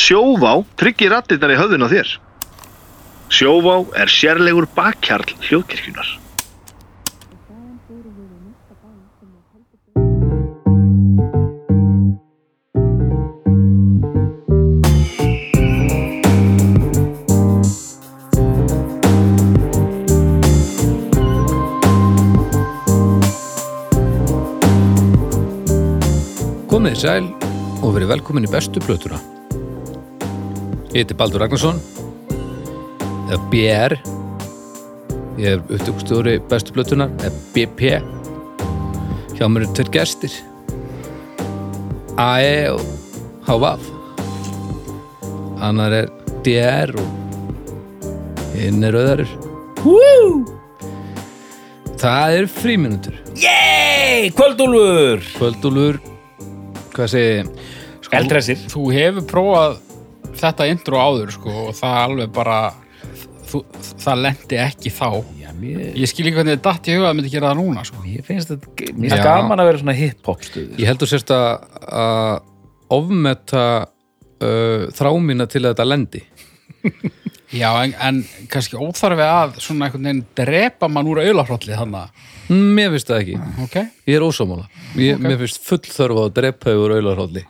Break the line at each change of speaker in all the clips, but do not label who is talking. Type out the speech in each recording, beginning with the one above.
Sjóvá tryggir rattirnar í höfðun á þér. Sjóvá er sérlegur bakkjarl hljóðkirkjunar.
Komið þið sæl og verið velkomin í bestu plötuna. Ég heiti Baldur Ragnarsson, eða BR, ég er upptökustjóri bestu plötunar, eða BP, hjá mér eru tveir gestir, AE og HVAF, annar er DR og hinn er auðarir. Það eru fríminútur,
Yey, kvöldúlfur
kvöldúlur, hvað segið þið?
Eldressir
Þú hefur prófað þetta intro áður sko og það alveg bara þú, það lendi ekki þá
Já, mér,
Ég skil ekki hvernig þið datt í huga að myndi gera það núna sko
mér finnst þetta mér finnst
Já.
gaman að vera svona hip-hop stuð
Ég heldur sérst að, að ofmeta uh, þrámina til að þetta lendi.
Já, en, en kannski óþarfi að svona einhvern veginn drepa mann úr aulafrolli þannig
Mér finnst það ekki.
Ok?
Ég er ósámála. Okay. Mér finnst full þörf á að drepa yfir auðlarhólli.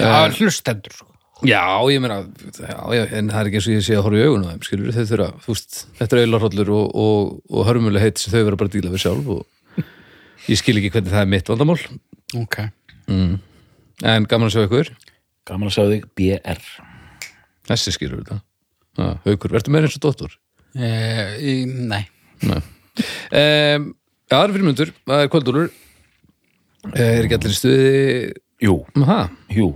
Já, uh, hlustendur sko
Já, ég meina, já, já, en það er ekki eins og ég sé að horfa í augun á þeim, skilur, þau þurfa, þú veist, þetta er auðlarhóllur og, og, og hörmuleg heit sem þau vera bara að díla við sjálf og ég skil ekki hvernig það er mitt vandamál,
Ok
en gaman að sjá ykkur,
Gaman að sjá þig BR
þessi skilur þetta, ja, haukur, verður meira eins og dóttur?
e, í, Nei
um, Já, það er fyrir myndur, það er kvöldúlur Er ekki allir í stuði
Jú,
um það?
jú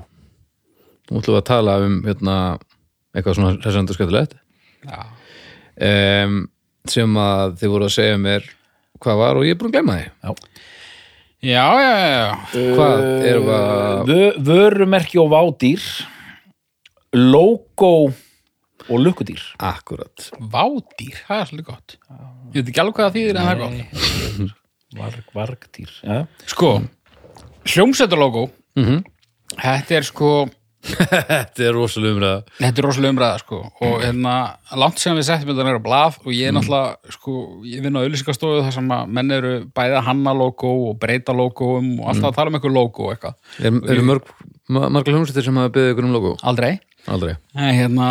Nú ætlum við að tala um hérna, eitthvað svona hressandu skemmtilegt
Já,
um, sem að þið voru að segja mér hvað var og ég er búin að glemma því
já, já, já, já.
Hvað er að
Vö, Vörumerki og vádýr Logo og lukkudýr
Akkurat
Vádýr, það er svolítið gott Ég veit ekki alveg hvað það þýðir en það er gott
Varg, vargdýr ja.
Sko, hljómsættarlogo Mhm. Þetta er sko
Þetta er rosalega umræða
Þetta er rosalega umræða sko og hérna, langt síðan við settum þetta neyra blað og ég er náttúrulega, sko, ég vinn á auðlýsingastofu þar sem að menn eru bæði að hanna logo og breyta logoum og alltaf að tala um eitthvað logo og eitthvað.
Er, Eru mörg, ma- margar hljómsættir sem hafa beðið ykkur um logo?
Aldrei.
Aldrei
En hérna,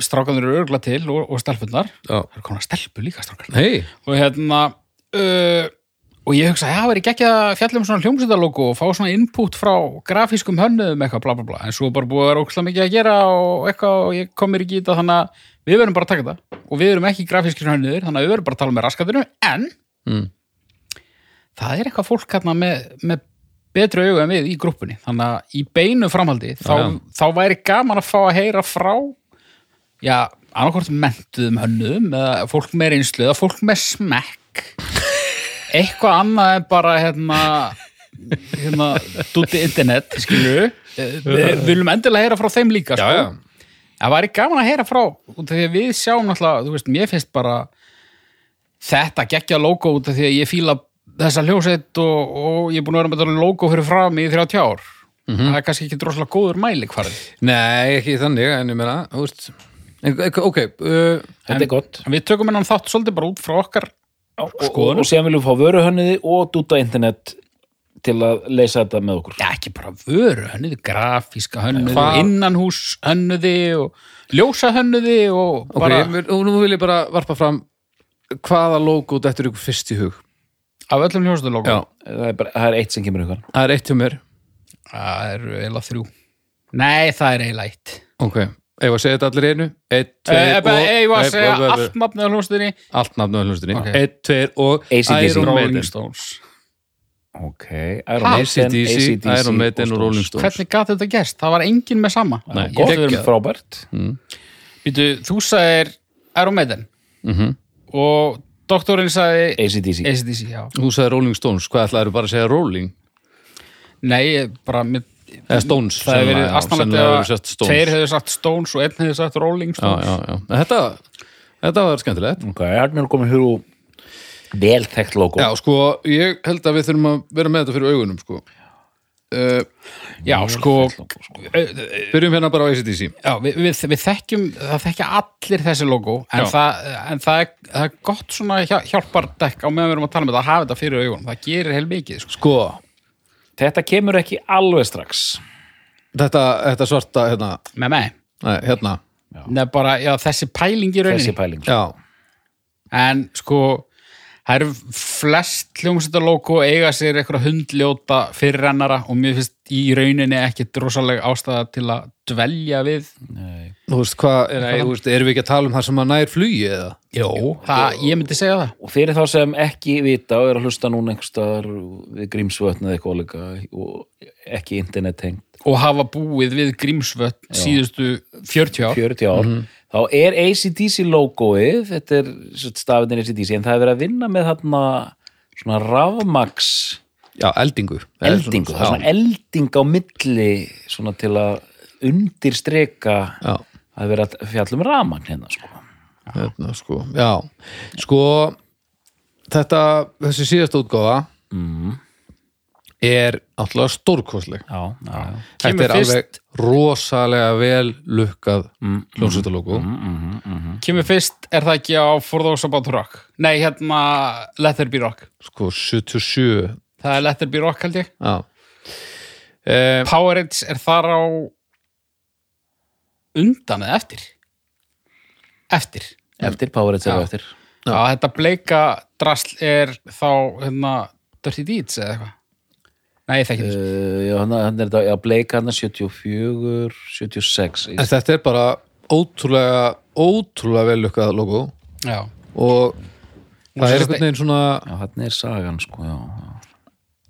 strákanur eru örgla til og, og stelpunnar.
Já.
Það eru konar stelpu líka strákanur.
Hei,
Og hérna, uh, og ég hugsa, já, verið ekki að fjalla um svona hljómsættarlogo og fá svona input frá grafískum hönnuðum eitthvað, bla, bla, bla. En svo er bara búið að vera ókslega mikið að gera og eitthvað og ég kom mér ekki í þetta, þannig að við verum bara að taka þetta og við erum ekki grafískum hönnuður, þannig að við verum bara að tala með raskatinu, en
mm.
það er eitthvað fólk hérna með, með betri augu en við í grúppunni þannig að í beinu framhaldi þá,
Já, já.
þá væri gaman að fá að heyra frá já, annarkvort mentuðum hönnum eða fólk með reynslu eða fólk með smekk eitthvað annað en bara hérna hérna, dúti internet skilju, við viljum endilega heyra frá þeim líka,
já,
sko
já.
það væri gaman að heyra frá út af því að við sjáum náttúrulega, þú veist, mér finnst bara þetta geggja logo út af því að ég fíla þessa hljósett og, og ég er búin að vera með þetta logo fyrir fram í 30 ár
Mhm.
það er kannski ekki droslega góður mæli hvarði
Nei, ekki þannig, en ég meina, þú veist En- Ok, uh,
Þetta er gott
en við tökum hennan þátt svolítið bara út frá okkar
og, og,
Skoðun.
og sem viljum fá vöruhönniði og dúta internet til að leysa þetta með okkur
já, ekki bara vöru hönnuði, grafíska hönnuði
Hvað-
og innanhús hönnuði og ljósa hönnuði og
Ok,
bara
mér- og nú vil ég bara varpa fram hvaða logo þetta er ykkur fyrst í hug
af öllum hljósettu logo
það er, bara, það er eitt sem kemur ykkur
Það er eitt hjá mér
það eru eiginlega þrjú nei, það er eiginlega eitt
Ok, eigum við að segja þetta allir í einu Eitt, tveir og
Ég var að
Nei,
segja
og- og-
allt nafnið á hljómsveitinni
Allt nafnum á hlustinni
Ok.
Eitt, tveir og
AC/DC.
Iron
Rolling
Maiden
Stones
ok, Iron
Ha?
Maiden,
ACDC,
AC/DC
Iron Maiden og Rolling Stones
Hvernig gat þetta gerst? Það var enginn með sama
Nei,
Gott, við erum
geggjað.
frábært
Býtu, Þú sagðir Iron Maiden
Mhm.
og doktorinn sagði
ACDC
ACDC, já
Þú sagði Rolling Stones, hvað ætlaðu bara að segja Rolling?
Nei, ég bara mér,
Eða Stones
það hefur
sennilega,
verið
já, sennilega hefur
astanlega
sett Stones.
Tveir hefur sagt Stones og einn hefur sagt Rolling
Já,
Stones
já, já Þetta, þetta var skemmtilegt
ok, Arnur komin hér úr velþekkt logo
Já, sko, ég held að við þurfum að vera með þetta fyrir augunum, sko
uh, já, sko
Byrjum hérna bara á ACDC.
já, við, við, við þekkjum það þekkja allir þessi logo en,
Já.
það, en það, er, það er gott svona hjá- hjálpardekk á meðan við erum að tala með það að hafa þetta fyrir augun, það gerir heil mikið sko.
Sko,
Þetta kemur ekki alveg strax.
þetta, þetta svarta, hérna,
með með,
nei, hérna,
nefn bara já, þessi pæling í
Þessi
rauninni
pæling.
já,
en sko það eru flest hljómsveitar logo eiga sér eitthvað hundljóta fyrirrennara og mér finnst í rauninni ekki drosalega ástæða til að dvelja við
þú veist hvað, nei, þú veist, erum við ekki að tala um það sem að nær flugi eða?
Jó, það, ég myndi segja það
Og fyrir þá sem ekki vita og er að hlusta núna einhvers staðar við grímsvötn eða eitthvað líka og ekki internet hengt
og hafa búið við Grímsvötn síðustu 40 ár
40 ár, þá er ACDC logoið, þetta er stafinir ACDC, en það er verið að vinna með þarna svona rafmax
Já, eldingu.
eldingu, það er svona elding á milli svona til að undirstreka
Já.
að vera að fjallum rafmagn hérna sko.
Hérna, sko, já sko, þetta þessi síðasta útgáfa
Mhm.
er alltaf stórkostleg
Já, já, já.
þetta
Kemur
er
fyrst-
alveg rosalega vel lukkað
Mm,
hljómsveitalóku
Kemur fyrst, er það ekki á For Those About Rock? Nei, hérna Let There Be Rock
sko 77
Það er Let There Be Rock held ég
já. Um,
Powerades er þar á undan eða eftir Eftir
eftir Powerheads
Já.
eru eftir
Já, þetta bleika drasl er þá hérna Dirty Deeds eða eitthvað Nei, ég þekki þetta
uh, já, hann, hann er þetta, já, Blake hann er 74 76
en þetta er bara ótrúlega ótrúlega vel lukkað lóku
Já,
Eh, og það
svo
er
sést
einhvern veginn svona
já, hann er sagan sko, já, já.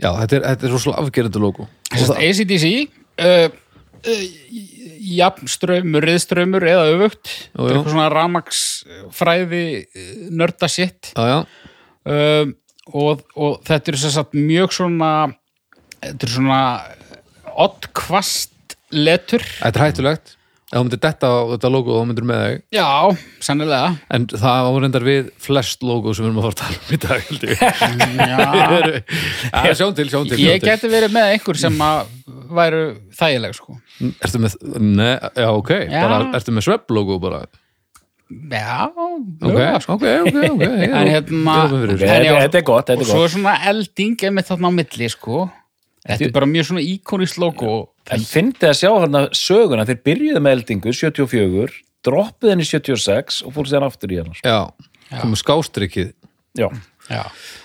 já, þetta er, þetta er rosalega afgerandi lóku
Sest, ACDC uh, uh, jafnströmmur, riðströmmur eða öfugt
Jú, jú.
Þetta er eitthvað svona ramagsfræði nörda sitt
já, já,
um, og, og þetta er sem sagt mjög svona þetta er svona oddkvast letur
þetta er hættulegt ef þú myndir detta á þetta lóku þá myndir með þig
já, sennilega
En það á reyndar við flest logo sem við erum að fara að tala um í dag held ég.
já,
Eru- Já, sjáum til, sjáum til, sjáum
ég
til.
geti verið með einhver sem að væru þægileg sko
Ertu með, ne, já, ok
Já.
Bara, Ertu með svepp logo bara
já,
Ok,
mögulega,
ok, ok, ok já,
en hérna
já, við fyrir.
Ok.
en já,
Þetta- þetta er gott, þetta er
og svo er svona elding með þarna á milli sko þetta er bara mjög svona íkonist logo
en fyndi að sjá þarna söguna þeir byrjuðu með eldingu 74 droppuðu henni 76 og fór sér aftur í hennar sko.
Já, komum skástrikið
já,
já.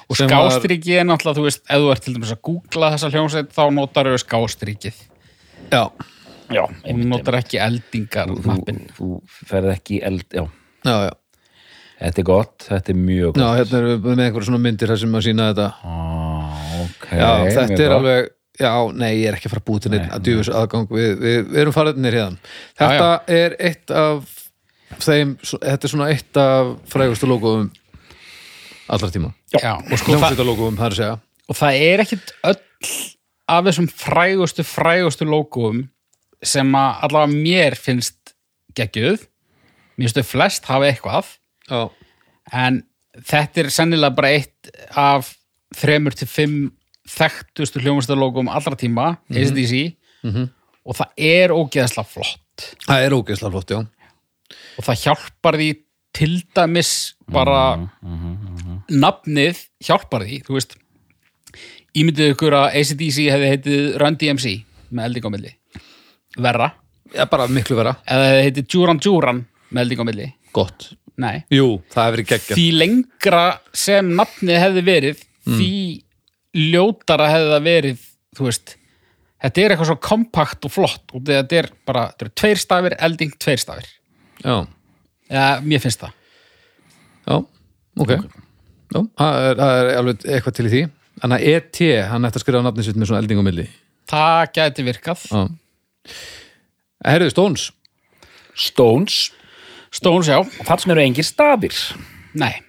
og
Sem var-
skástriki er náttúrulega þú veist, ef þú ert til dæmis að googla þessa hljómsveit þá notar þau skástrikið
Já,
já
hún
einmitt,
notar ekki eldingar
einmitt. þú, þú ferð ekki í eld já,
já, já
þetta er gott, þetta er
Já,
mjög gott
hérna erum við með einhverjum svona myndir þar sem að sína þetta
ah, ok,
Já, þetta
mjög
er
gott.
alveg Já, nei, ég er ekki að fara að búið til neitt að djúfis aðgang við, við, við erum fariðnir hérna Þetta er eitt af þeim, svo- þetta er svona eitt af frægustu logoðum allra tíma
já, og, sko, það,
Hljómsveita logoðum, það er að segja
og það er ekkit öll af þessum frægustu frægustu logoum sem að allavega mér finnst geggjuð mér finnst þau flest hafa eitthvað
Já,
en þetta er sennilega bara eitt af þremur til fimm þekktustu hljómastarlókum allra tíma, ACDC og það er ógeðslega flott
það er ógeðslega flott, já
og það hjálpar því til dæmis bara nafnið hjálpar því, þú veist ímyndið ykkur að ACDC hefði heitið Run DMC með elding á milli verra,
Já, bara miklu vera
eða hefði heitið Duran Duran með elding á milli,
Gott
nei
Jú, það hefur verið geggjað
því lengra sem nafnið hefði verið því ljótara hefði það verið þú veist, þetta er eitthvað svo kompakt og flott og þetta er bara þetta er tveir stafir, elding tveir stafir
Já,
ja, mér finnst það
já, ok Já, það er, það er alveg eitthvað til í því Þannig að ET, hann ætti að skrifa nafnið sitt með svona elding og milli
það gæti virkað
Já Herðu, Stones
Stones,
Stones, já,
þarna eru engir stafir
nei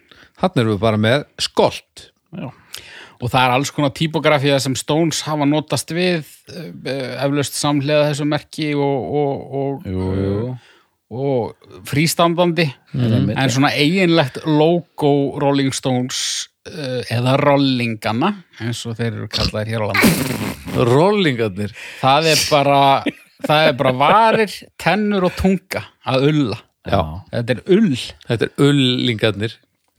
Hann erum við bara með skolt
og það er alls konar typografía sem Stones hafa notast við eh, eh, eflaust samlega þessu merki og, og, og, eh, jú, jú. Mm. og frístandandi en svona eiginlegt logo Rolling Stones uh, eða rollingana eins og þeir eru kallaðir hér á landi
Rollingarnir.
það er bara það er bara varir, tennur og tunga að ulla
Já.
þetta er ull,
Þetta er ullingarnir.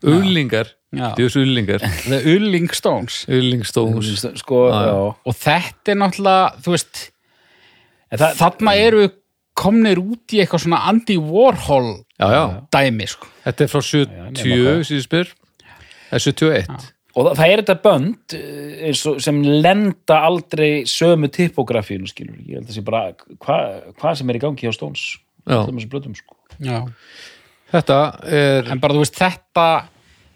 Ullingar.
Já.
Djús ullingar.
the ulling stones
Ullingstóns.
sko, já.
og þetta er náttúrulega þú veist,
En það,
þarna
Mm.
eru komnir út í eitthvað svona Andy Warhol
Já, já.
dæmi sko.
Þetta er frá 70, síðan spyr. Það er 71.
og það, það er þetta bönd eh, eins og, sem lenda aldrei sömu typografínu skilur ég held að sé bara hvað hva sem er í gangi hjá Stones
Já.
Öllum þessum blötum, sko.
en
Þetta er...
bara þú veist þetta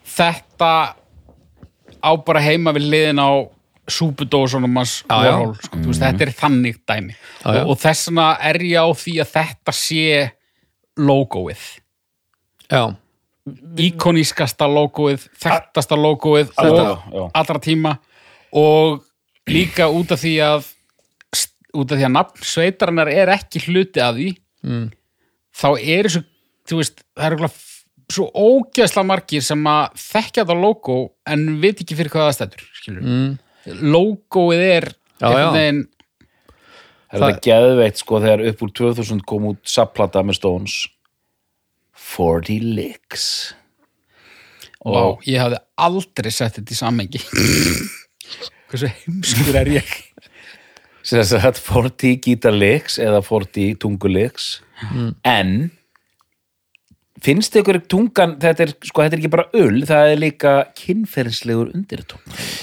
þetta á bara heima við liðin á súpudósunum hans
Já, já.
Warhol sko. Þú veist, þetta er þannig dæmi
Já, já.
og, og þess vegna er ég á því að þetta sé logoið
Já.
Mm. íkonískasta logoið þekktasta logoið
Þetta, já.
og allra tíma og líka út af því að út af því að nafn sveitarinnar er ekki hluti að því
Mm.
þá er þessu, þú veist, það er okkur svo ógeðsla margir sem að þekkja það logo en veit ekki fyrir hvað það stendur, skilur
Mm.
logoið er
Já, já.
veginn,
Það er þetta geðveitt sko þegar upp úr 2000 kom út sapplata með Stones 40 licks
Vá, ég hafði aldrei sett þetta í samengi hversu heimskur er ég
sem þess að 40 gítar licks eða 40 tungu licks en finnst ykkur tungan þetta er, sko, þetta er ekki bara ull það er líka kynferðislegur undirtón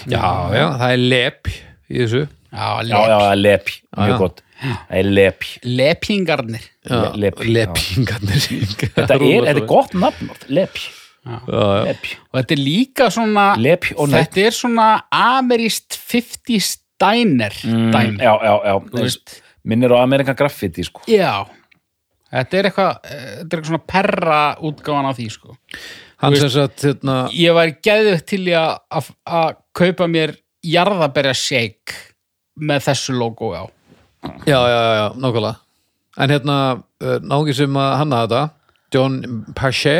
Já, já. Það er lep í þessu.
já,
já, já,
lep,
það er lepj,
já.
mjög gott það er lepj
lepingarnir
Já,
Lep-
Lepingarnir.
þetta er, þetta er gott nafn oft, lepj
Já, já.
lepj,
og þetta er líka svona
lepj og nögg
þetta er svona amerist 50 steiner
Mm.
dæmi
já, já, já, þú
veist.
veist minnir á Amerikan Graffiti, sko
Já. þetta er eitthvað eh, þetta er eitthvað svona perra útgáfan á því sko.
Hann sem sagt, hérna,
ég var geðið til í að- að að kaupa mér jarðaberja shake með þessu logo á
já, já, já, já, nákvæmlega. En hérna, eh, náungi sem að hanna þetta, John Pache,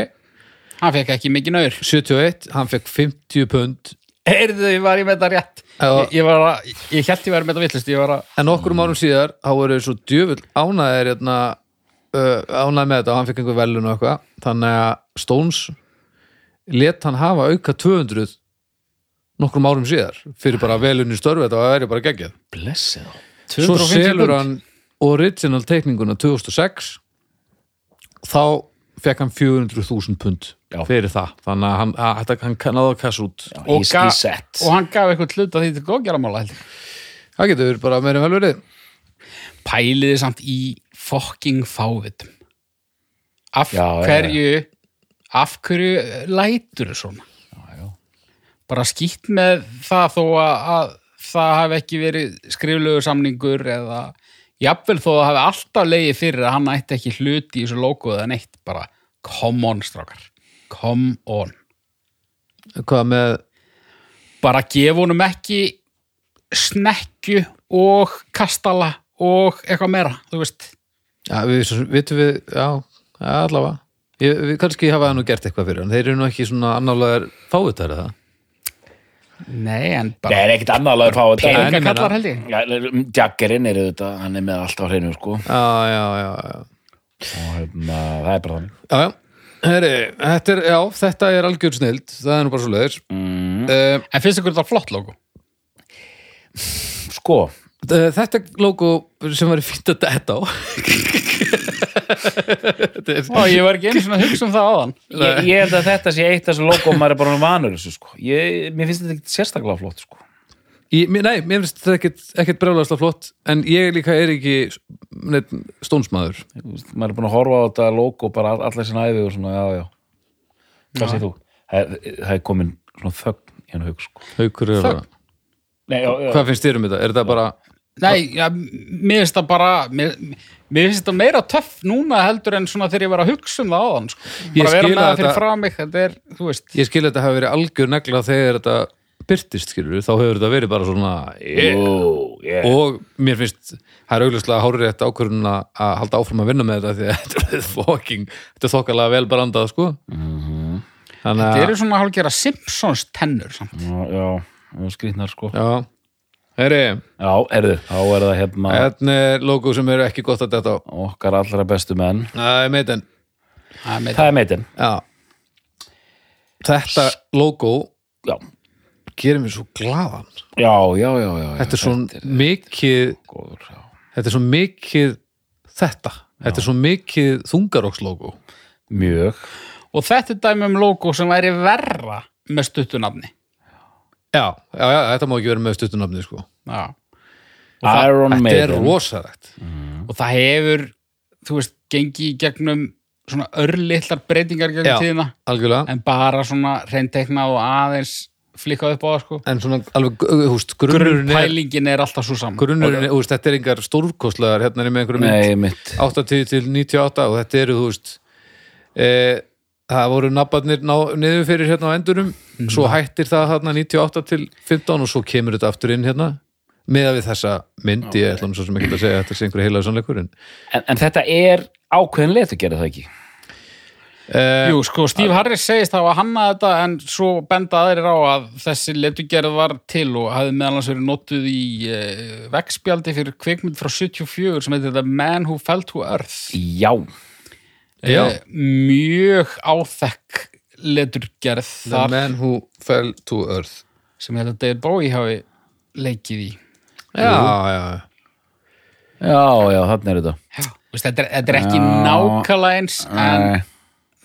hann fekk ekki mikið naur
71, hann fekk 50 pund
Heyrðu, ég var í með þetta rétt
Já.
ég, ég, var að, ég held ég var með þetta villust ég var að
en nokkrum árum síðar þá voru þeir svo djöfull ánæðir hérna, uh, ánæði með þetta og hann fekk einhver velun og eitthvað þannig að Stones let hann hafa auka 200 nokkrum árum síðar fyrir bara velun í störfi þetta og það er bara geggjað
blessið þá
svo
250 pund.
selur hann original teikninguna 2006 þá fekk hann 400.000 pund
Já.
fyrir það þannig að hann, að, þetta- hann náðu að kassa út
og,
He's-
gaf-
he's set.
og hann gaf eitthvað hlut að því til góðgjáramála held ég
það getur verið bara meira velverið
pæliði samt í fokking fávitum af
Já, já, já.
hverju af hverju lætur svona já, já. bara skýtt með það þó að, að það hafi ekki verið skriflegu samningur eða jafnvel þó að það hafi alltaf leiði fyrir að hann ætti ekki hluti í þessu logo eða neitt bara come on strákar come on
hvað með,
bara gefa honum ekki snekju og kastala og eitthvað meira þú veist
já, við svo- vitum við já, já, allavega Ég, við kannski hafa það nú gert eitthvað fyrir hann þeir eru nú ekki svona annálaðar fávitar eða
Nei, en
það
bara
er ekkit annað að fá þetta
Peningar.
peninga kallar held ég.
Já, Jaggerinn er auðvitað, hann er með allt á hreinu sko.
já, já, já, já
og hérna, það er bara þannig
Já, já. Heri, þetta er, já, þetta er algjör snild það er nú bara svo leiðis mm.
En finnst ykkur þetta flott logo?
sko,
Eh, Þetta logo sem var fínt að detta á Þetta er-
Ó, ég var ekki einu svona að hugsa um það áðan.
ég, ég held að þetta sé eitt af þessu logo og maður er bara vanur þessu sko. ég, mér finnst þetta ekkit sérstaklega flott sko.
ég, mér- Nei, mér finnst þetta ekkit, ekkit brjóðlega flott en ég líka er ekki neitt stónsmaður
Þú veist, maður er búin að horfa á þetta logo bara all- allar sinna æfi og svona, já, já hvað sé þú? Það, er- það er komin svona þögn í hann hug sko.
Haukur er það
Nei, já, já.
Hvað finnst þér um þetta? Er þetta bara
Nei, ja, mér finnst það bara, mér, mér finnst það meira töff núna heldur en svona þegar ég var að hugsa um það áðan. Sko.
Ég
Bara vera
skil
með
að
það fyrir
þetta-
frá mig, þetta er, þú veist.
Ég skil að þetta hafi verið algjör negla þegar þetta byrtist, skilur þá hefur þetta verið bara svona yeah.
Jú, yeah.
og mér finnst það er augljóslega hárið þetta ákvörðun að að halda áfram að vinna með þetta því að þetta er fucking þetta er þokkalega vel brandað, sko Þannig
Þetta
að,
eru svona hálfgera Simpsons tennur samt.
Já, já, skrýtnar sko Já,
já, herri,
erðu, þá er það hérna
hérna er logo sem eru ekki gott að detta á.
okkar allra bestu menn
Það er meitin.
Það er með-
Það er meitin,
Já. Þetta logo
já
gerir mér svo glaðan.
Já, já, já, já, já.
Þetta er svo mikið,
góður já.
þetta er svo mikið þetta. Þetta er svo mikið þungarokslogo.
Mjög
Og þetta er dæmi um logo sem væri verra með stuttunafni.
Já, já, já, þetta má ekki vera með stuttunafni, sko.
Já.
Iron
Þetta er
Maiden
rosalegt.
Og það hefur, þú veist, gengið í gegnum svona örlittlar breytingar gegnum
Já.
tíðina.
Algjörlega.
En bara svona reyntekna og aðeins flikkað upp á það, sko.
En svona alveg, uh, húst, grunnurinn er,
Grunnpælingin er alltaf svo saman.
grunnurinn er, húst, þetta er engar stórkostlegar, hérna er ég með einhverjum
Nei, mitt
80 til 98 og þetta eru, þú veist e, það voru nabbarnir ná- niður fyrir hérna á endurum
Mhm.
svo hættir það hérna 98 til 15 og svo kemur þetta aftur inn hérna meða við þessa mynd, ég ætlum svo sem ekki að segja að þetta sé einhverja heilaðu sannleikur en
en, en þetta er ákveðin leið að gera það ekki
Jú, sko, Steve Harris segist hafa hannað þetta en svo benda aðrir á að þessi letugerð var til og hafði meðal hans verið notuð í uh, vegspjaldi fyrir kvikmynd frá 74 sem heitir The Man Who Fell to Earth
Já,
já,
Eh, mjög áþekk leturgerð
The
þar
Man Who Fell to Earth
sem þetta David Bowie hafi leikið í
já, já,
já, já, þannig er þetta
Vist, þetta, er, þetta er ekki
Já.
nákvæmlega eins en
Nei.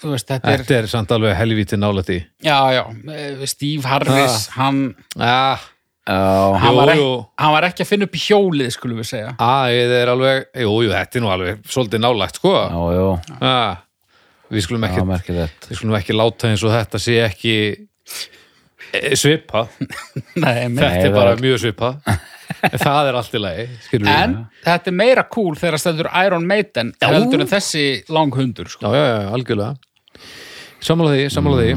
þú veist, þetta er
þetta er samt alveg helvíti nálætti
já, já, eh, Steve Harris hann,
ah,
Já,
hann,
Jú,
var ekki,
jú.
hann var ekki að finna upp í hjólið skulum við segja
ah, þetta er alveg, jú, jú, þetta er nú alveg svolítið nálægt, sko
já, já,
ah, við skulum
já,
ekki
merkilegt
við skulum ekki láta eins og þetta sé ekki eh, svipa
Nei, einmitt.
þetta er
það
bara
er-
mjög svipa En það er allt í lagi skilur við.
En þetta er meira cool þegar stendur Iron Maiden heldur en þessi langhundur sko.
já, já, já, algjörlega sammála því, sammála því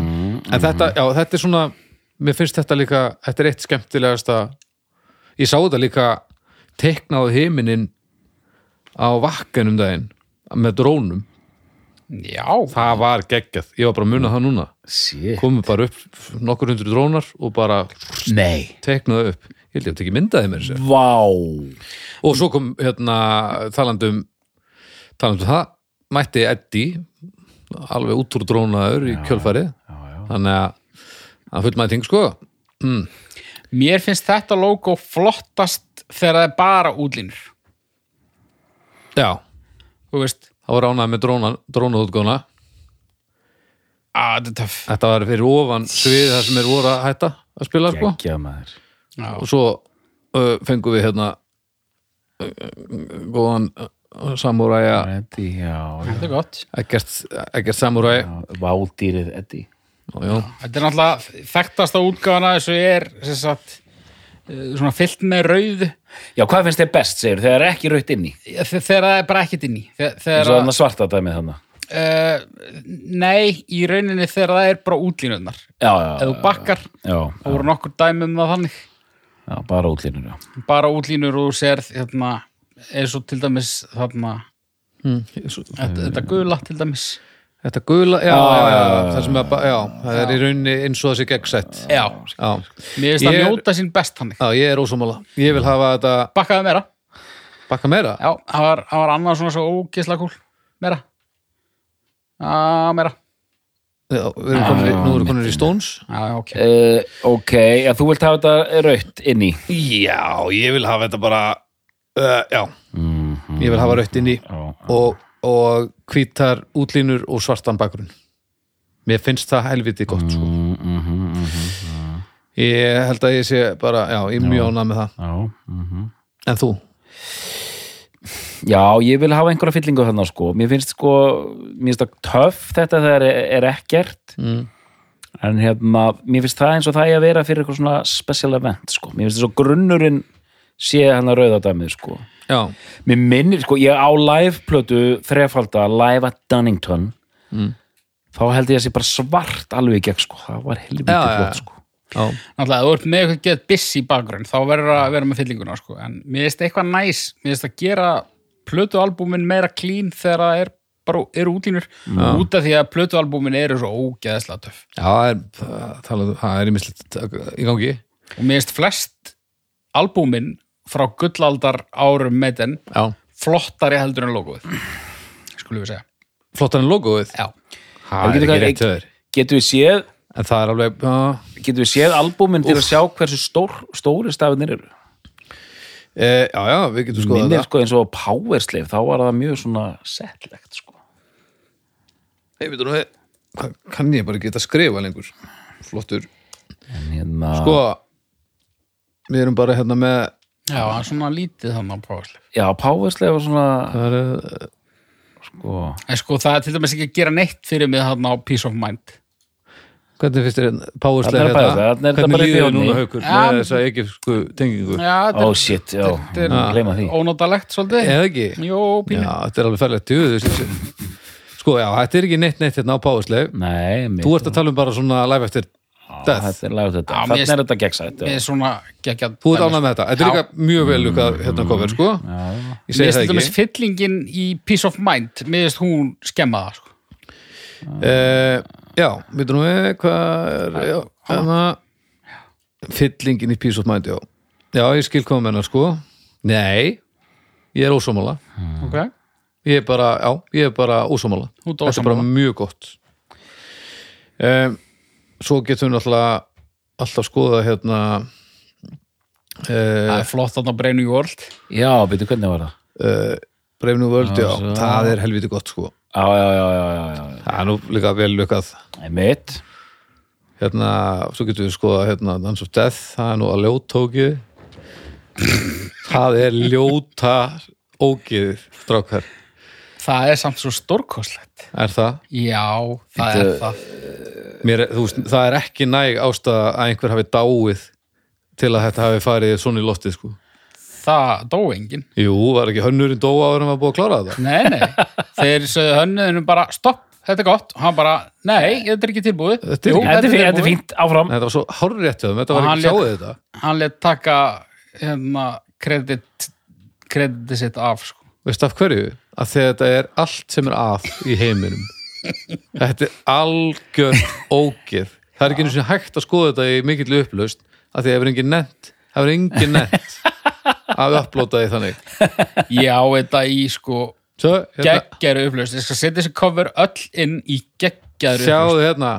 en þetta, já, þetta er svona mér finnst þetta líka, þetta er eitt skemmtilegasta ég sá þetta líka teknað himinin á vakken um daginn með drónum,
Já,
það var geggjað ég var bara að muna það núna
Sí
komu bara upp nokkur hundru drónar og bara
Nei
teknaðu upp ég held ég að ekki myndaði mér sér
Vá
og svo kom hérna talandum talandum um það, mætti Eddie alveg út úr drónaður í kjölfarið þannig að hann fullmæting sko
mér finnst þetta logo flottast þegar það er bara útlínur
já,
Þú veist,
það var ánað með dróna, drónaútgóna
að þetta er töff
þetta var fyrir ofan svið þar sem er voru að hætta að spila sko
Gekkja maður
og svo uh, fengum við hérna uh, góðan uh, samúræja
Eddi, já, já
Þetta er gott
ekkert, ekkert samúræja já,
Vádýrið Eddi
já.
Þetta er náttúrulega þekktasta útgáfana þessu er sem sagt, eh, svona fyllt með rauð
Já, hvað finnst þér best, segir þegar er ekki raut inni
þe- þegar það er bara ekkert inn í Þe-
eins
þegar
og
að,
þannig svarta dæmið þannig
uh, Nei, í rauninni þegar það er bara útlínurnar
Já,
Ef
já,
Ah.
þú bakkar,
já,
þá voru nokkur dæmi um það þannig
já, bara útlínur, já
bara útlínur og þú sérð hérna, eins og til dæmis þarna,
Mm.
þetta, þetta gula til dæmis
Þetta gula, já,
Já,
Ah, já, já,
já,
já, það sem er, bara- já, það er í rauninni eins og þessi gegnsætt.
já,
Já,
mér finnst að
Ég er-
njóta sín best hannig
já, ég er ósámála. Ég vil hafa þetta
bakkaði meira,
bakka meira.
já, það var, það var annað svona svo ógisla kúl, meira já, meira
Já, við erum konur, nú erum konur í Stones.
já, ok,
Uh, ok, já, þú vilt hafa þetta raut inni
Já, ég vil hafa þetta bara, uh, já, ég vil hafa rautt inn í
Mhm. Já,
og, og hvítar útlínur og svartan bakgrunn. Mér finnst það helviti gott, sko.
Mhm,
Ég held að ég sé bara, já, ég er mjög ánað með það.
já mhm.
En þú?
Já, ég vil hafa einhverja fyllingu þannig sko. Mér finnst sko, mér finnst það töff þetta þegar er, er ekkert mm. en hérna, mér finnst það eins og það ég að vera fyrir eitthvað svona special event sko. Mér finnst þess að grunnurinn sé hann að rauða dæmið sko.
Já,
Mér minnir, sko, ég á live-plötu þrefalda, live at Dunnington
Mm.
þá held ég að sé bara svart alveg í gegn, sko. Það var helviti
Já, já,
flott,
já.
sko.
já,
náttúrulega, ef þú ert með eitthvað get busy bakgrunn, þá verður að vera með fyllinguna sko. en mér finnst eitthvað næs, mér finnst að gera plötualbúmin meira clean þegar það er bara eru útlínur út af því að plötualbúmin eru svo ógeðslega töff
Já, það er, það- það það er mislið í gangi
og mér finnst flest albúmin frá gullaldar árum metin
Já,
flottari heldur en logoð skulum við segja
flottar en logoið
Já.
Það er
getur
ekki
hvað-
rétt höður
Getum við séð,
En það er alveg, já,
getum við séð albúmin til að sjá hversu stór, stóri stafinir eru?
e, já, já, við getum skoðað
Minnir
það
sko eins og á Power Slave, þá var það mjög svona settlegt sko.
Hei, veitur nú, hvað kann ég bara geta að skrifa lengur Flottur
En Hérna,
Sko, við erum bara hérna með
já, það er svona lítið þannig á prófaslef
Já, Power Slave var svona,
Það er, eh,
sko,
en sko það er til dæmis ekki að gera neitt fyrir mig þarna á Peace of Mind
hvernig finnst þér hérna,
Þarna
Powerslega
er bara þetta, þarna er þetta
Hvernig
bara í
líður þér
bjónni.
núna haukur
Ja.
með þessa egypsku tengingu
já,
ó oh, shit, já,
þetta er-
gleyma því.
ónótalegt svolítið
Eða ekki?
Jó,
Já,
pínu.
þetta er alveg færlegt Jú, þú veist, Sko, já, þetta er ekki neitt neitt hérna á Powerslega
Nei, mér,
Þú ert að tala um bara svona live eftir death.
þetta er lagur þetta,
Já, mér-
þannig er þetta gegnsætt.
Ég
já.
er svona geggja
Þú ert ánægð með þetta. Þetta er líka mjög vel lukkað hérna kofir, sko. Ég segi það
Mér finnst
ekki.
þetta fyllingin í Peace of Mind Mér finnst hún skemma það sko.
Uh, já, við nú við hvað er, já, hérna fyllingin í Peace of Mind, já. Já, ég skil koma með hennar, sko. Nei, ég er ósámála.
Ok
Ég er bara, já, ég er bara ósámála.
Þú ert
Þetta er bara
ósammála.
mjög gott. Um, svo getum við náttúrulega alltaf skoða hérna
Það er flott þarna Brain New World
Já, byrju, hvernig var það?
Breifnú Völd, já, það er helviti gott, sko.
Já, já, já, já, já, já,
Það er nú líka vel lukkað.
einmitt.
hérna, svo getum við skoða hérna, Dance of Death, það er nú að ljóttókið það er ljóta ógið strákar,
Það er samt svo stórkoslegt
er það
Já, það er það
Mér, er- þú veist, það er ekki næg ástæða að einhver hafi dáið til að þetta hafi farið svona í loftið sko.
Það dó enginn
jú, var ekki hönnurinn dóa áður en var búið að klára þetta
Nei, nei, þeir sögðu hönnuðinu bara stopp, þetta er gott, og hann bara nei, þetta er ekki tilbúið
Þetta er ekki-
Þetta er fínt, þetta er fínt, áfram.
þetta var svo hárréttjöðum, þetta var
Hann
ekki sjáðið
lét-
þetta
Hann let taka hérna, kredit krediti sitt af sko.
veist af hverju? að þegar þetta er allt sem er að í heiminum þetta er algjör ógeð það er ekki einu sinni hægt að skoða þetta í mikill upplaust að því að hefur engin nett hefur engin nett að upplóta því þannig
Já, þetta í sko
Svo, hérna,
geggjaru upplöst, ég skal setja þessi cover öll inn í geggjaru upplöst
sjáðu hérna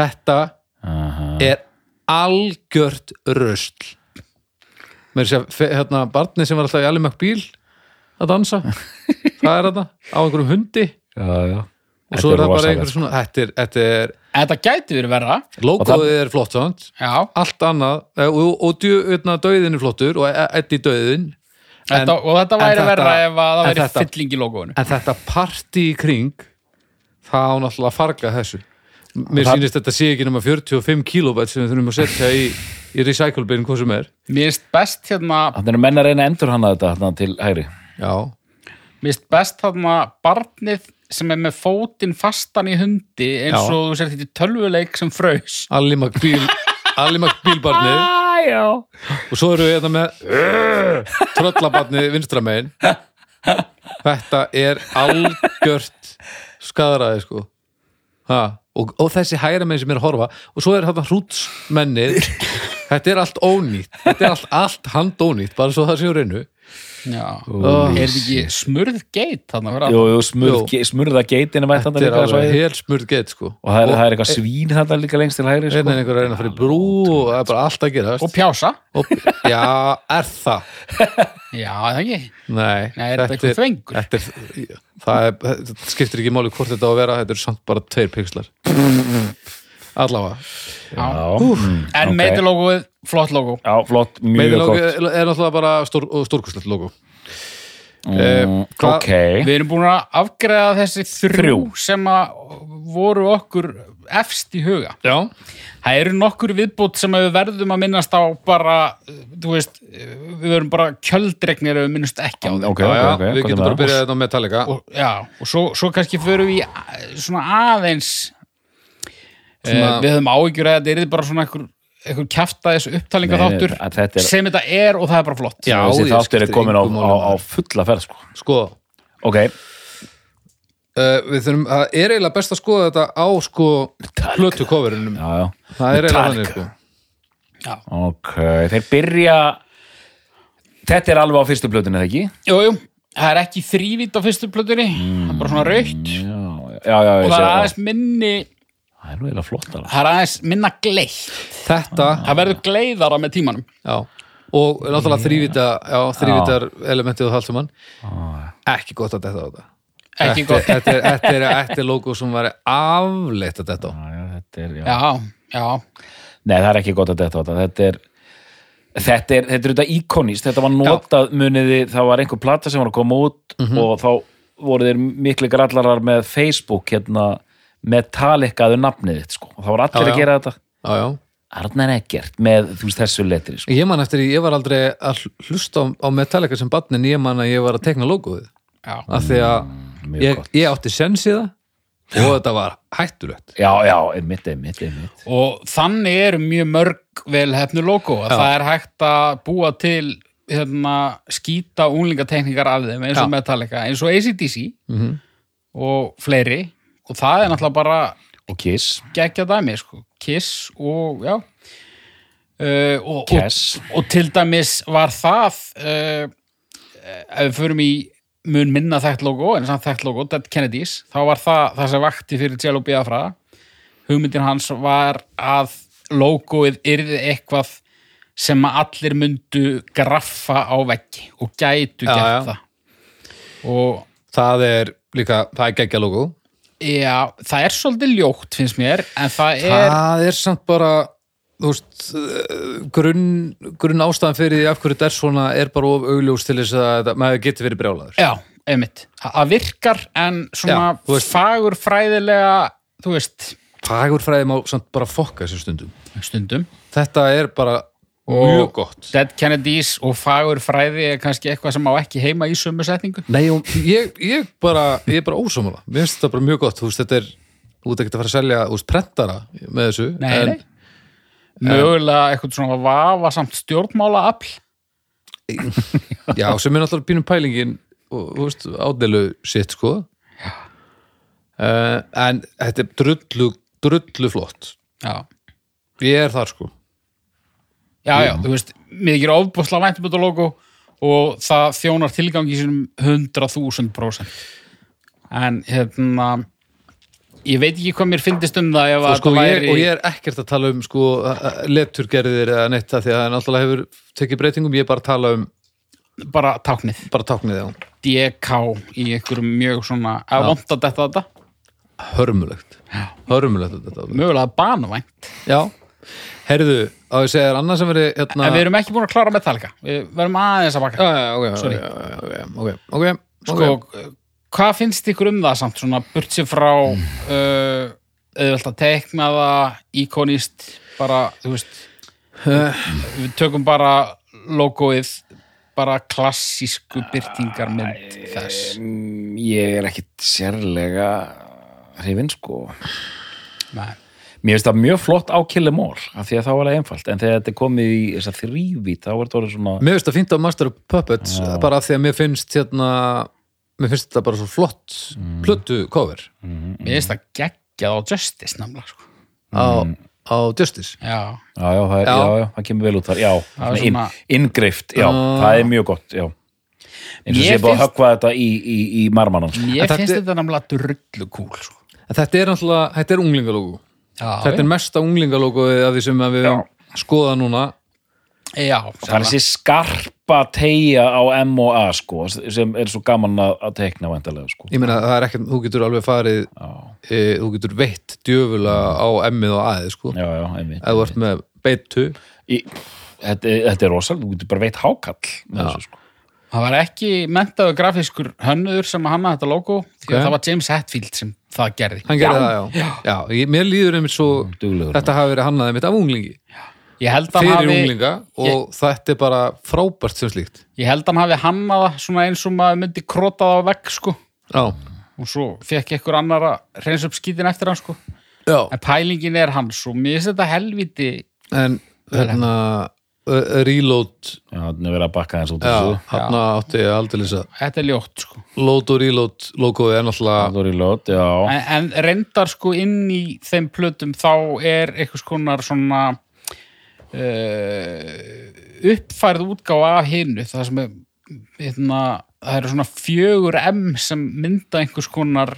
þetta er algjört rösl mér sé að hérna barni sem var alltaf í alveg bíl að dansa það er þetta á einhverjum hundi
Já, já.
og svo er það bara
rosalegt. sko.
einhver svona þetta er, þetta er
Þetta gæti verið verra
logoið er flott samt
Já,
allt annað eh, og, og djöðna döiðin er flottur og e, eddi döiðin
þetta, og þetta
en
væri
þetta-
verra ef að það
en
væri
þetta-
fylling í logoinu
en þetta parti í kring það á náttúrulega að farga þessu M- mér
það-
sýnist þetta sé ekki nema 45 kilobæt sem við þurfum að setja í, í recycle bin hvað sem er
Mér finnst best hérna
Þannig eru menn að reyna að endur hana þetta þarna til hægri.
já,
Mér finnst best þarna barnið sem er með fótinn fastan í hundi eins
Já.
og þú sér þetta í tölvuleik sem fraus.
Alli McBeal Alli McBealbarnið
Æ, já.
og svo eru við hérna með tröllabarnið vinstramein þetta er algjört skadræði sko ha. og, og þessi hægra megin sem er að horfa og svo er hérna hrútsmennið þetta er allt ónýtt þetta er allt, allt handónýtt, bara svo það séu reynu
Já. Oh, er þetta ekki smurðgeit þarna fyrir
Jú,
Ah.
jú,
að
Jú.
smurð, smurða geitinu mætt
þetta
þarna
er
líka svo
alveg hel smurt gett sko
Og það er, það er eitthvað svín þarna líka lengst til hægri,
Einnig
sko.
einhver að reyna að fara í brú og það er bara allt að gerast
og pjása?
og, Já, er það?
Já, það ekki.
Nei,
Nei, er þetta eitthvað þvengur?
Þetta er, það er, þetta skiptir ekki máli hvort þetta á að vera, þetta er samt bara tveir pixlar. Allavega.
Já,
Mm,
En
ok.
okay. meitilóguð, flott logo.
já, flott, mjög
Meðilógu
gott.
er er náttúrulega bara stór, stórkustlegt logo.
Mm,
Eh, hvað-
ok,
Við erum búin að afgreða þessi þrjú,
Þrjú.
sem að voru okkur efst í huga.
Já.
Það eru nokkur viðbútt sem að við verðum að minnast á bara, uh, þú veist, uh, við verum bara kjöldregnir ef við minnast ekki á það.
ok,
Já,
ok,
já,
ok.
við getum bara að byrja þetta á Metallica.
og, já, og svo, svo kannski förum við í a- svona aðeins
Svona-
svona, við höfum áhyggjur að þetta er bara svona einhver, einhver kjaftaðis upptalinga þáttur
Nei, að þetta er-
sem þetta er og það er bara flott
Já,
þessi
ég
þáttur er
skiptir
komin á, sko.
engu
á,
máli.
á fulla ferð, sko.
Sko,
Ok,
uh, við þurfum, það er eiginlega best að skoða þetta á sko plötu coverunum
já, já.
það er eiginlega þannig
Metallica.
sko
Ok, þeir byrja Þetta er alveg á fyrstu blöðinu, eða ekki?
Jú, jú, það er ekki þrývít á fyrstu plötunni
Mm.
það er bara svona raukt
Já, já, já,
og
ég sé
það er
það
aðeins minni
Það er nú eða flott alveg
það er aðeins minna gleitt
þetta,
það verður gleiðara með tímanum
já og náttúrulega þrývita, já, þrývitar elementið og halsumann
Ah.
ekki gott að þetta á þetta
ekki
Þetta-
gott,
þetta er, þetta er, þetta er logo sem var afleitt að þetta á
Já, já, þetta er, já.
já, já
Nei, það er ekki gott að detta á þetta Þetta er Þetta er, þetta er þetta íkonist, þetta var notað muniði, það var einhver plata sem var að koma út og þá voru þeir miklu grallarar með Facebook hérna Metallicaðu nafnið þitt sko og það var
Já,
allir að
já.
gera þetta
já, já
Arnar Eggert með þú veist þessu letri sko.
Ég man eftir, því, ég var aldrei að hlusta á, á Metallica sem barn en ég man að ég var að tekna logoðið
Já.
af því að
Mm, mjög
ég,
gott.
ég átti sens í það og þetta var hættulegt
Já, já, einmitt, einmitt, einmitt
og þannig eru mjög mörg vel hefnu logo að
Já.
það er hægt að búa til hérna, skýta unglingatekningar af þeim eins
Já.
og
Mhm.
Metallica, eins og ACDC og fleiri og það er náttúrulega bara
Og Kiss,
geggja dæmi sko. Kiss og já uh, og, og,
Kiss
og til dæmis var það uh, ef við förum í mun minna þekkt logo en samt þekkt logo, Dead Kennedys þá var það það sem vakti fyrir Jello Biafra hugmyndin hans var að logoið yrði eitthvað sem að allir myndu graffa á veggi og gætu
Já,
gert
já.
það og
Það er líka, það er geggja logo
já, það er svolítið ljótt finnst mér, en það er
Það er samt bara þú veist, eh, grunn, grunn ástæðan fyrir því af hverju þetta er svona er bara of augljós til þess að þetta- maður getur verið brjálaður
Já, einmitt. Þa- Það virkar en svona
Já, þú veist-
fagur fræðilega, þú veist,
Fagurfræði má samt bara fokka þessu stundum
stundum.
Þetta er bara mjög gott
Dead Kennedys og fagur fræði er kannski eitthvað sem á ekki heima í sömu setningu.
Nei, og ég, ég bara, ég er bara ósámála. Mér finnst þetta bara mjög gott, þú veist, þetta er, þú ert ekki að fara að selja, þú veist, prentara með þessu.
Nei, nei. Mögulega eitthvað svona vafasamt stjórnmála afl.
nei. Já, sem er náttúrulega pínum pælingin, og, þú veist, ádelu sitt, sko. Uh, en þetta er drullu, drullu flott.
Já.
Ég er þar, sko.
Já, já, þú veist, mér ekki er ofbúslega vænt um þetta logo og það þjónar tilgangi sinum 100.000% en hérna ég veit ekki hvað mér fyndist um það ef
Og,
að
sko
þetta
ég, og ég er ekkert að tala um, sko, eh, leturgerðir eða neitt það, því að það náttúrulega hefur tekið breytingum, ég er bara að tala um,
bara táknið
bara táknið á.
DK í einhverjum mjög svona að vont að detta þetta
Hörmulegt. Hörmulegt þetta.
mögulega banvænt
Já, heyrðu, á ég segja þér annað sem verið hérna
en við erum ekki búin að klára Metallica við verðum aðeins að baka
Já, já, ok,
Sorry.
já, já, já, ok, ok, ok,
sko,
ok
hvað finnst ykkur um það samt svona burt sér frá
Mm.
uh, auðvelt að tekna það íkonist bara, þú veist við tökum bara logoið bara klassísku byrtingarmynd þess
Ég er ekkit sérlega hrifin sko
Nei.
Mér finnst það mjög flott á Killemore af því að þá var það einfalt, en þegar þetta er komið í þessar þrývít, þá er þetta orðið svona
Mér finnst það fínt á Master of Puppets bara af því að mér finnst hérna mér finnst þetta bara svo flott plötu cover
mér finnst það geggjað á Justice namla sko.
á, á Justice
já,
Já, já, það, er,
Já.
já. Já, það kemur vel út þar, já
Það er
svona inn,
svona-
inngreift, já, það er mjög gott, já eins og
Mér
sé búið að
finnst- Mm.
höggva þetta í, í, í marmanum sko.
mér
En þetta-
finnst þetta namla drullu kúl sko.
En Þetta er náttúrulega, þetta er unglingalógu
já,
Þetta er mesta unglingalóguði af því sem að við skoða núna
já,
Það er
sannlega.
þessi skarpa teygja á M og A sko, sem er svo gaman að, að tekna væntalega, sko
Ég meina, það er ekkert, þú getur alveg farið e, þú getur veitt djöfula á emmið og aðið, sko
Já, já, einmitt
eða þú ert með beitu
í, þetta, þetta er rosal, þú getur bara veit hákall með þessu, sko.
Það var ekki mentaðu grafískur hönnuður sem að hanna þetta logo því að
Ok.
það var James Hetfield sem það gerði.
Hann gerði það, já. já. ég, mér líður einmitt svo
Duglegur.
þetta hafi verið hannað einmitt af unglingi
Ég held hann
fyrir
hafi,
unglinga og þetta er bara frábært sem slíkt.
ég held hann hafi hannað það svona eins og maður myndi krota það á vegg sko
Já.
og svo fekk einhver annar að reyns upp skítin eftir hann sko.
Já.
En pælingin er hans og mér finnst þetta helviti
En hérna uh, reload
Já, þannig verið að bakka þess út
já, hann átti ég aldrei að
Þetta er ljótt sko.
load og reload logoið er náttúrulega
Þóri Lót, já
en, en reyndar sko inn í þeim plötum þá er einhvers konar svona uh, uppfærð útgáfa af hinu það sem er hérna, það eru svona fjögur M sem mynda einhvers konar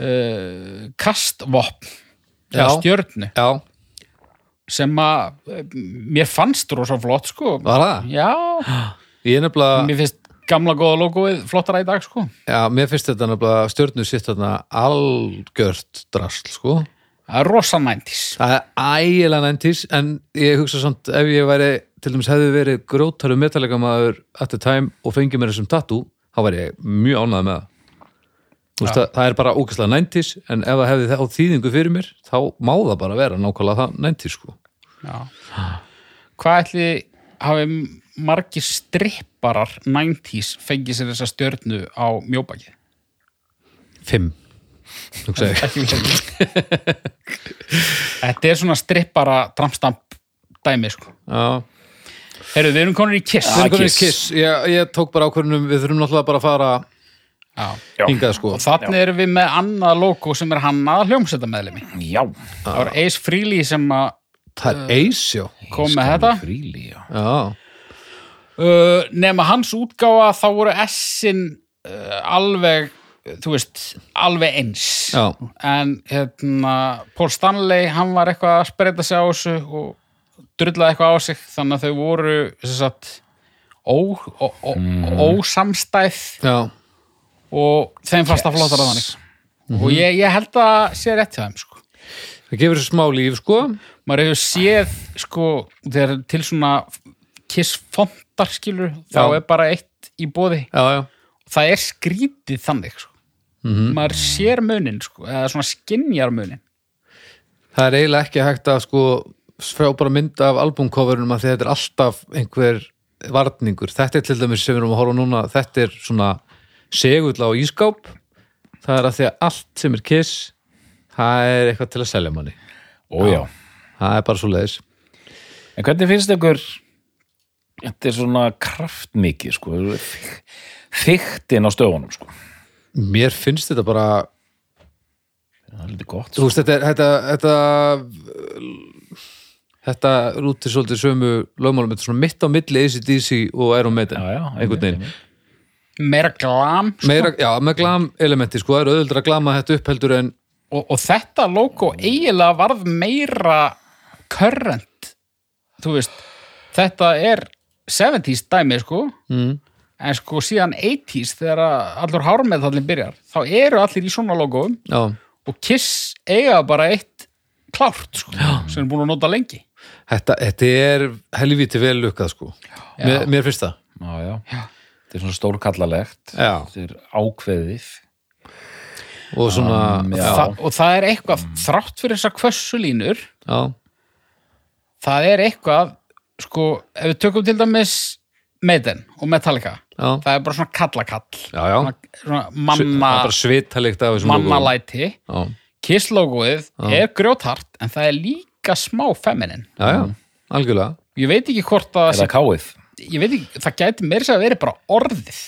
uh, kastvopn eða
Já.
stjörnu
já,
sem að eh, mér fannst rosa flott sko
var það
já,
ég er nefnilega,
mér finnst gamla góða logoið flottara í dag sko
já, mér finnst þetta nefnilega stjörnu sitt þarna algjört drasl sko
það er rosa næntís
Það er ægilega næntís en ég hugsa samt ef ég væri til dæmis hefði verið grótaru metalega maður at the time og fengið mér þessum tattoo þá væri ég mjög ánægð með það Þú veist, það, það er bara ógæslega næntís en ef það hefði þá þýðingu fyrir mér þá má það bara vera nákvæmlega það næntís sko.
Já. Hvað ætli hafi margir stripparar 90s fengið sér þessa stjörnu á mjóbakið?
Fimm hugsa ég.
Ekki vilja ekki. Þetta er svona strippara tramstamp dæmi, sko.
Já.
Heyrðu, við erum konur í Kiss.
Þeir eru komin í Ah,
Kiss.
Kiss. Ég, ég tók bara ákvörnum við þurfum náttúrulega bara að fara
Já.
hingað sko.
Og þannig erum við með annað logo sem er hann að hljómsetta meðlemi.
Já,
Það var Ace Frehley sem að
Það er Ace, já.
kom með þetta.
fríli, já
Eh. já
Uh, nema hans útgáfa þá voru S-in uh, alveg, þú veist, alveg eins.
Já.
En hérna, Paul Stanley, hann var eitthvað að spreita sig á þessu og drullaði eitthvað á sig, þannig að þau voru, þess að, ó, ó, ó,
Mm.
ósamstæð
já,
og þeim fasta yes. flottar að þannig.
Mhm.
Og ég, ég held að sé rétt hjá þeim, sko.
það gefur þessu smá líf sko.
Maður hefur séð, sko, þegar til svona kiss-fontar skilur, þá
Já.
er bara eitt í bóði
já, já
það er skrítið þannig sko. maður sér munin sko, eða svona skinjar munin
það er eiginlega ekki hægt að sko frá bara mynda af albumcoverunum að því þetta er alltaf einhver varningur þetta er til dæmis sem við erum að horfa á núna þetta er svona segull á ískáp það er að því að allt sem er kiss það er eitthvað til að selja manni
Ó, já
það er bara svo leiðis
En hvernig finnst ykkur þetta er svona kraftmikið sko, þyktin á stöðunum sko.
mér finnst þetta bara
það er lítið gott sko.
þú veist þetta er- þetta þetta, þetta rútir svolítið sömu lögmálum þetta er svona mitt á milli ACDC og Iron Maiden
Já, já, einmitt,
einhvern veginn
einmitt.
meira glam sko.
meira, já, með glam elementi sko, það er auðvöldur að glama þetta upp heldur en
og, og þetta logo eiginlega varð meira current þú veist, þetta er 70s dæmi sko mm. en sko síðan 80s þegar að allur hármeðallin byrjar þá eru allir í svona logoum
já,
og Kiss eiga bara eitt klárt sko, sem er búin að nota lengi
þetta, þetta er helvíti vel lukkað sko mér, mér finnst það
já, já. þetta er svona stórkallalegt
Já.
þetta er ákveðið
og svona, já,
Þa, og það er eitthvað, þrátt fyrir þessar kvössulínur
já,
það er eitthvað sko, ef við tökum til dæmis Maiden og Metallica
Já.
það er bara svona kallakall
Já, já.
Svona, svona
Svi- það er
manna,
bara svitalikt af þessum logoum.
mannalæti
já,
kisslóguið er grjóthart en það er líka smá feminin
já, já, algjörlega
ég veit ekki hvort að
eða káið
ég veit ekki, það gæti meira sér að vera bara orðið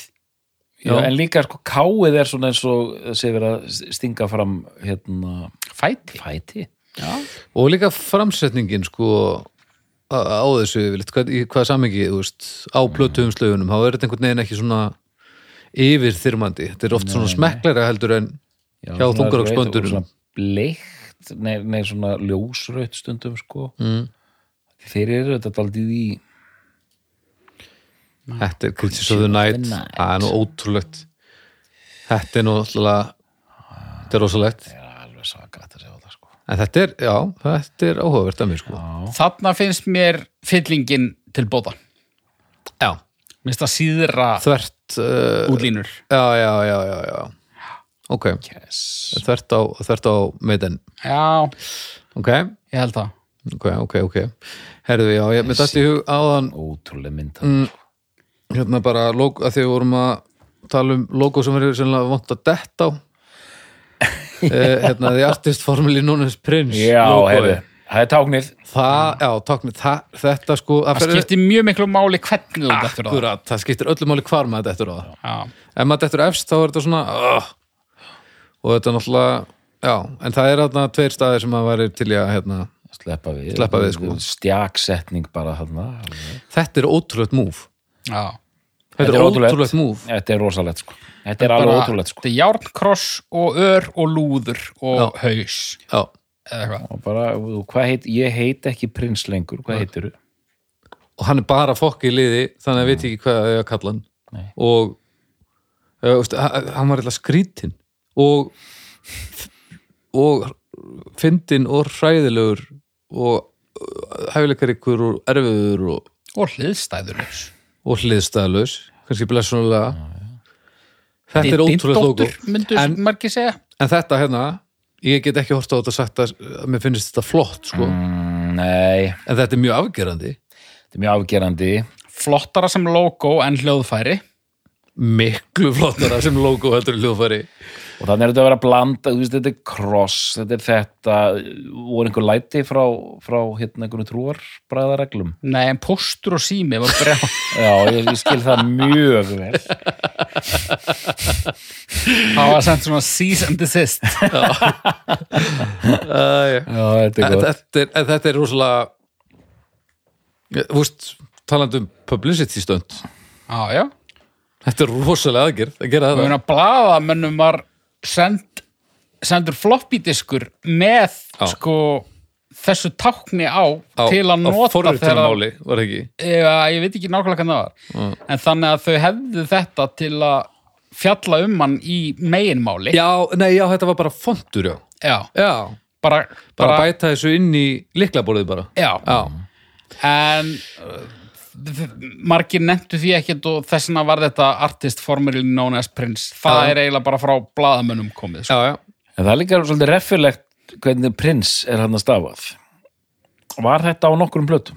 já, en líka sko, káið er svona eins og sé verið að stinga fram hérna,
fæti
fæti
og líka framsetningin sko á á þessu yfirleitt, hvað, í hvað samingi veist, á plötuumslögunum, þá er þetta einhvern veginn ekki svona yfirþyrmandi þetta er oft svona smekklæra heldur en hjá
já, svona rautt og
þungarokksböndunum
svona bleikt, nei, nei svona ljósraut stundum sko mm. þeir eru þetta aldrei í
Þetta er Creatures of the Night
Night.
Það er nú ótrúlegt Þetta er nú alltaf Þetta er rosalegt
það er alveg sakrætt að segja það sko
En þetta er, já, þetta er áhugavert að mér sko
þarna finnst mér fyllingin til bóta
Já,
minnst það síðra
þvert uh,
útlínur
Já, já, já, já, já Ok,
yes.
þvert á, þvert á meitinn
já,
Ok,
ég held það
ok, ok, ok Herðu, já, ég með þetta í hug áðan
ótrúlega mynd
Hérna bara, logo, að því við vorum að tala um logo sem verður sennilega vont að detta á Eh, hérna, The Artist Formally Known as Prince
já,
logoið.
heyrðu, það er táknið
það, já, táknir, það, þetta sko
það skiptir mjög miklu máli hvernig
akkurat,
þú dættur á það
það. skiptir öllu máli hvar maður dettur á það
Já.
ef maður dettur efst þá er þetta svona uh, og þetta er náttúrulega já, en það er þarna tveir staðir sem maður væri til í að hérna,
sleppa við, Mm.
Sleppa við, sko.
stjaksetning bara þarna
þetta er ótrúlegt múf
Já.
þetta er ótrúlegt múf
þetta er rosalegt sko þetta er alveg
Bara-
ótrúlegt sko
þetta er járnkross og ör og lúður og haus
já,
eða eitthvað
og bara, þú- hvað heit, ég heit ekki prins lengur, hvað heitir þú?
og hann er bara fokk í liði þannig að ég veit ekki hvað ég að kalla hann
Mm. Nei.
og uh, veist, hann hann var eitthvað skrítinn og og fyndinn og hræðilegur og hæfileikar ykkur og erfiður og,
og hliðstæðurlaus
og hliðstæðlaus kannski blessunulega þetta er ótrúlega lóku
Dindóttur, myndu
en,
margir segja
en þetta hérna ég get ekki hort á þetta sagt að að mér finnst þetta flott sko.
Mm, nei,
en þetta er mjög afgerandi
þetta er mjög afgerandi
flottara sem logo en hljóðfæri
miklu flottara sem logo heldur en hljóðfæri
og þannig er þetta að vera blanda, þú veist, þetta er kross þetta er þetta, voru einhver læti frá, frá hérna einhvern trúar bræðareglum
nei, en póstur og sími var brjá
já, ég, ég skil það mjög vel
það var samt svona cease and desist
uh, já
já, þetta er
en
gott
þetta er, en þetta er rosalega Ég- þú veist, talandi um publicity stönd
já, já
þetta er rosalega aðgerð að gera
og
það
hérna blaðamönnum var send, sendur floppy diskur með
Já.
sko þessu tákni á,
á,
til að
á
nota þegar að-
forritunarmáli, var það ekki
eða, ég veit ekki nákvæmlega hvernig það var
Mm.
en þannig að þau hefðu þetta til að fjalla um hann í meginmáli
já, nei, já, þetta var bara fontur, já
Já,
já,
bara,
bara,
bara,
bæta þessu inn í liklaborðið bara
já.
já,
en uh, þ- margir nefntu því ekkert og þess vegna var þetta artist formerly known as Prince það
Já.
er eiginlega bara frá blaðamönnum komið sko.
já, já
en það er líka svolítið reffilegt hvernig prins er hann að stafað var þetta á nokkrum plötum?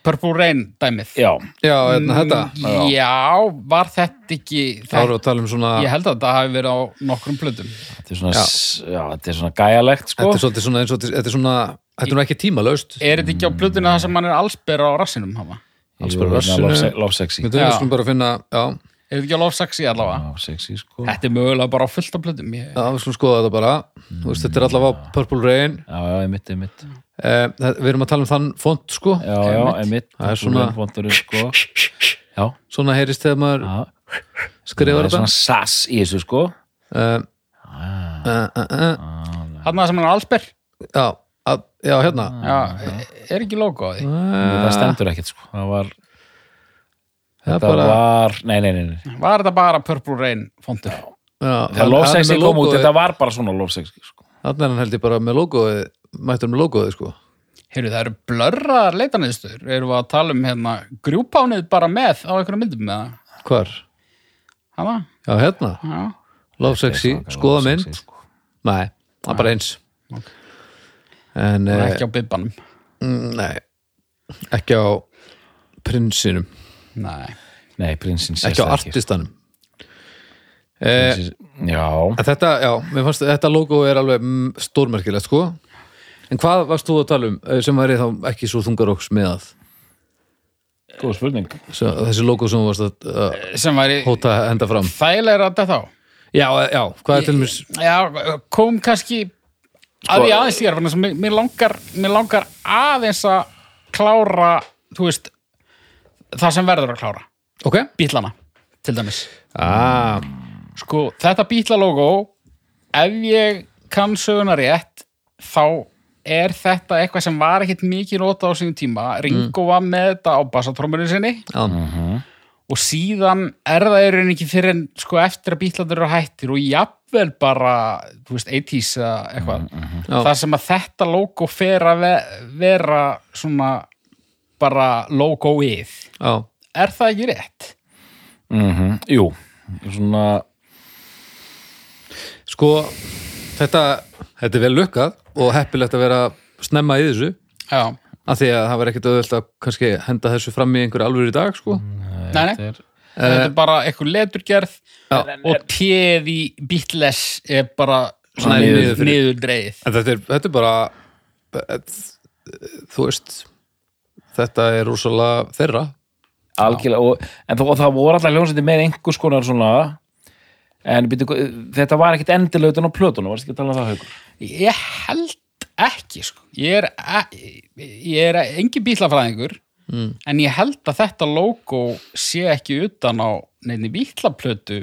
Purple Rain dæmið
já,
Já, hérna, þetta,
Mm, Já, var þetta ekki
þá erum við að tala um svona
Ég held að þetta hafi verið á nokkrum plötum
þetta er svona, s- já, þetta er svona gæjalegt sko
þetta er svolítið svona, eins og þetta er- þetta er svona þetta er nú ekki tímalaust
Er þetta ekki á plötuna þar sem hann er allsbera á rassinum hafa?
alls bara rassinu.
lofsexi
Við þurfum bara að finna, já,
Er þetta ekki á lofsaxi allavega?
lofsexi sko já,
Þetta er mögulega bara á fullt af plötum ég...
já, við skulum skoða þetta bara Þú veist, þetta er allavega Purple Rain
já, einmitt, einmitt já,
eh, það- Við erum að tala um þann font, sko
já, einmitt,
Það er svona-
Vondur, sko. já,
svona heyrist þegar maður
já
skrifar
það er
þetta
svona Ah. sass í þessu sko
uh, uh, uh, uh,
Hann sem hann er allsber?
já, að, já, hérna
Ah.
Já, er ekki logo á því?
það stendur ekkert sko það var,
Ah. það er
það
bara
var, nei, nei, nei, nei.
Var þetta bara Purple Rain fondur?
já, hann-
það lofsexi
hann er með
kom út,
logoið-
þetta var bara svona lofsexi sko.
hann er hann held ég bara með logoið mættur með logoið sko
Heyrðu, það eru blörraðar leitarniðstöður Erum við að tala um hérna grjúpánið bara með á einhverjum myndum með það?
hvar,
Hanna?
já hérna
Já,
love sexy, skoða mynd
Lofsexy, sko.
nei, það er bara eins en
það er
eh,
ekki á bibbanum
nei ekki á prinsinum
Nei,
nei, prinsinn sést
ekki á artistanum eh,
Prinsinn- já,
En Þetta, já, mér fannst þetta logo er alveg mm, stórmerkilegt sko En hvað varst þú að tala um eh, sem væri þá ekki svo þungaróks með að
góð spurning
þessi logo sem þú varst að uh,
sem væri
hóta að henda fram
þægilega að þetta á
Já, eh, já, hvað er til mér
Já, kom kannski
Sko-
að því aðeins ég er þannig að mér langar, mér langar aðeins að klára, þú veist það sem verður að klára
Ok,
bítlana, til dæmis
ah,
sko, þetta bítlalógó ef ég kann söguna rétt þá er þetta eitthvað sem var ekkit mikið notað á sínum tíma Ringo var með þetta á bassatrómurinn sinni
já,
og síðan er það í rauninni ekki fyrir en sko eftir að bítlandur eru hættir og jafnvel bara, þú veist, 80s eða eitthvað,
Já.
það sem að þetta logo fer að ve- vera svona bara logoið,
já,
er það ekki rétt?
mm jú, svona
Sko, þetta, þetta er vel lukkað og heppilegt að vera snemma í þessu
Já,
af því að það var ekkit auðvöld að kannski henda þessu fram í einhverju alvöru í dag sko
nei, nei, þetta er bara eitthvað leturgerð
Já.
og téð í bítles er bara
Nei,
svona
niður fyrir.
niður dreigð
En þetta er, þetta er bara eh, þú veist þetta er rosalega þeirra
algjörlega, og, en þó, það voru alltaf hljómsveitir með einhvers konar svona en byrju, hvað- þetta var ekkit endilega utan á plötunum, varst ekki að tala um það haukur
Ég held ekki sko. ég, er, e- ég er engin bílafræðingur en ég held að þetta logo sé ekki utan á neinni bílaplötu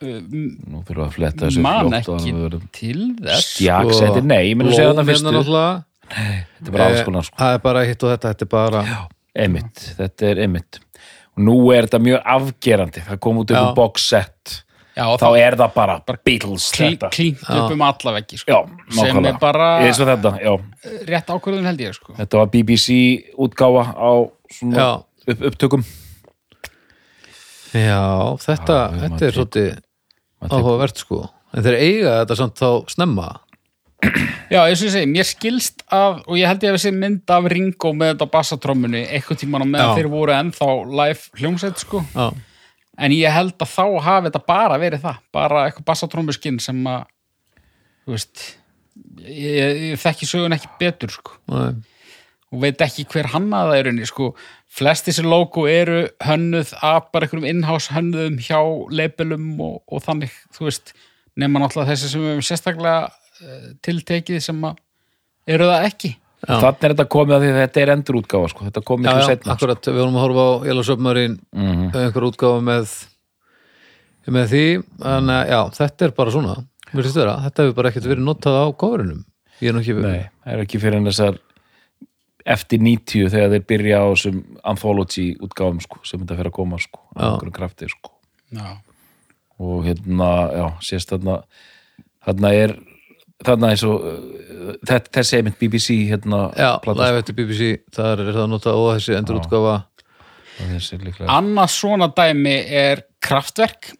nú fyrir að fletta
man ekki til þess
stjaksetti, nei, ég myndi að segja
Blóm
þetta fyrstu
hérna náttúrulega.
þetta er bara alls konar
Eh,
sko
það er bara hitt og þetta, þetta er bara
Einmitt, þetta er einmitt og nú er þetta mjög afgerandi það kom út upp
Já.
um box set
Já,
þá er það bara Beatles
klí,
þetta.
klínt upp um allaveggi
já,
sko. sem
nákvæmlega.
er bara
eins og þetta, já,
rétt ákvörðun held ég sko.
þetta var BBC útgáfa á svona
Já.
upp, upptökum
já, þetta,
Já, við
þetta
maður
er svolítið áhugavert sko en þeir eiga þetta samt þá snemma
Já, eins og ég segi, mér skilst af og ég held ég að þessi mynd af Ringo með þetta á bassatrömmunni eitthvað tíman á meðan
Já.
þeir voru ennþá live hljómsveit sko.
já,
en ég held að þá hafi þetta bara verið það bara eitthvað bassatrömmuskinn sem að þú veist ég, ég, ég þekki sögun ekki betur sko.
nei,
og veit ekki hver hannaða er unni sko. flest þessi logo eru hönnuð af bara einhverjum innhás hönnuðum hjá labelum og, og þannig þú veist, nema náttúrulega þessi sem við höfum sérstaklega uh, tiltekið sem að eru það ekki
Já.
þannig er þetta komið að því að þetta er endur útgáfa sko. þetta kom
já,
miklu Mhm.
já,
setna sko.
akkurat, við vorum að horfa á Yellow Submarine mm -hmm. einhver útgáfa með með því, en eh, já, þetta er bara svona mér finnst vera, þetta hefur bara ekkert verið notað á kofurunum, ég er nú ekki
nei, það er ekki fyrir en þessar eftir 90 þegar þeir byrja á þessum anthology útgáfum sko, sem þetta fyrir að koma sko, á einhverjum krafti sko.
Já.
og hérna, já, sést þarna þarna er þarna eins og uh, þetta- þessi einmitt BBC hérna
já,
plata,
live eftir BBC, þar er það notað og þessi endur útgáfa
sko, þessi líklega
annað svona dæmi er kraftverk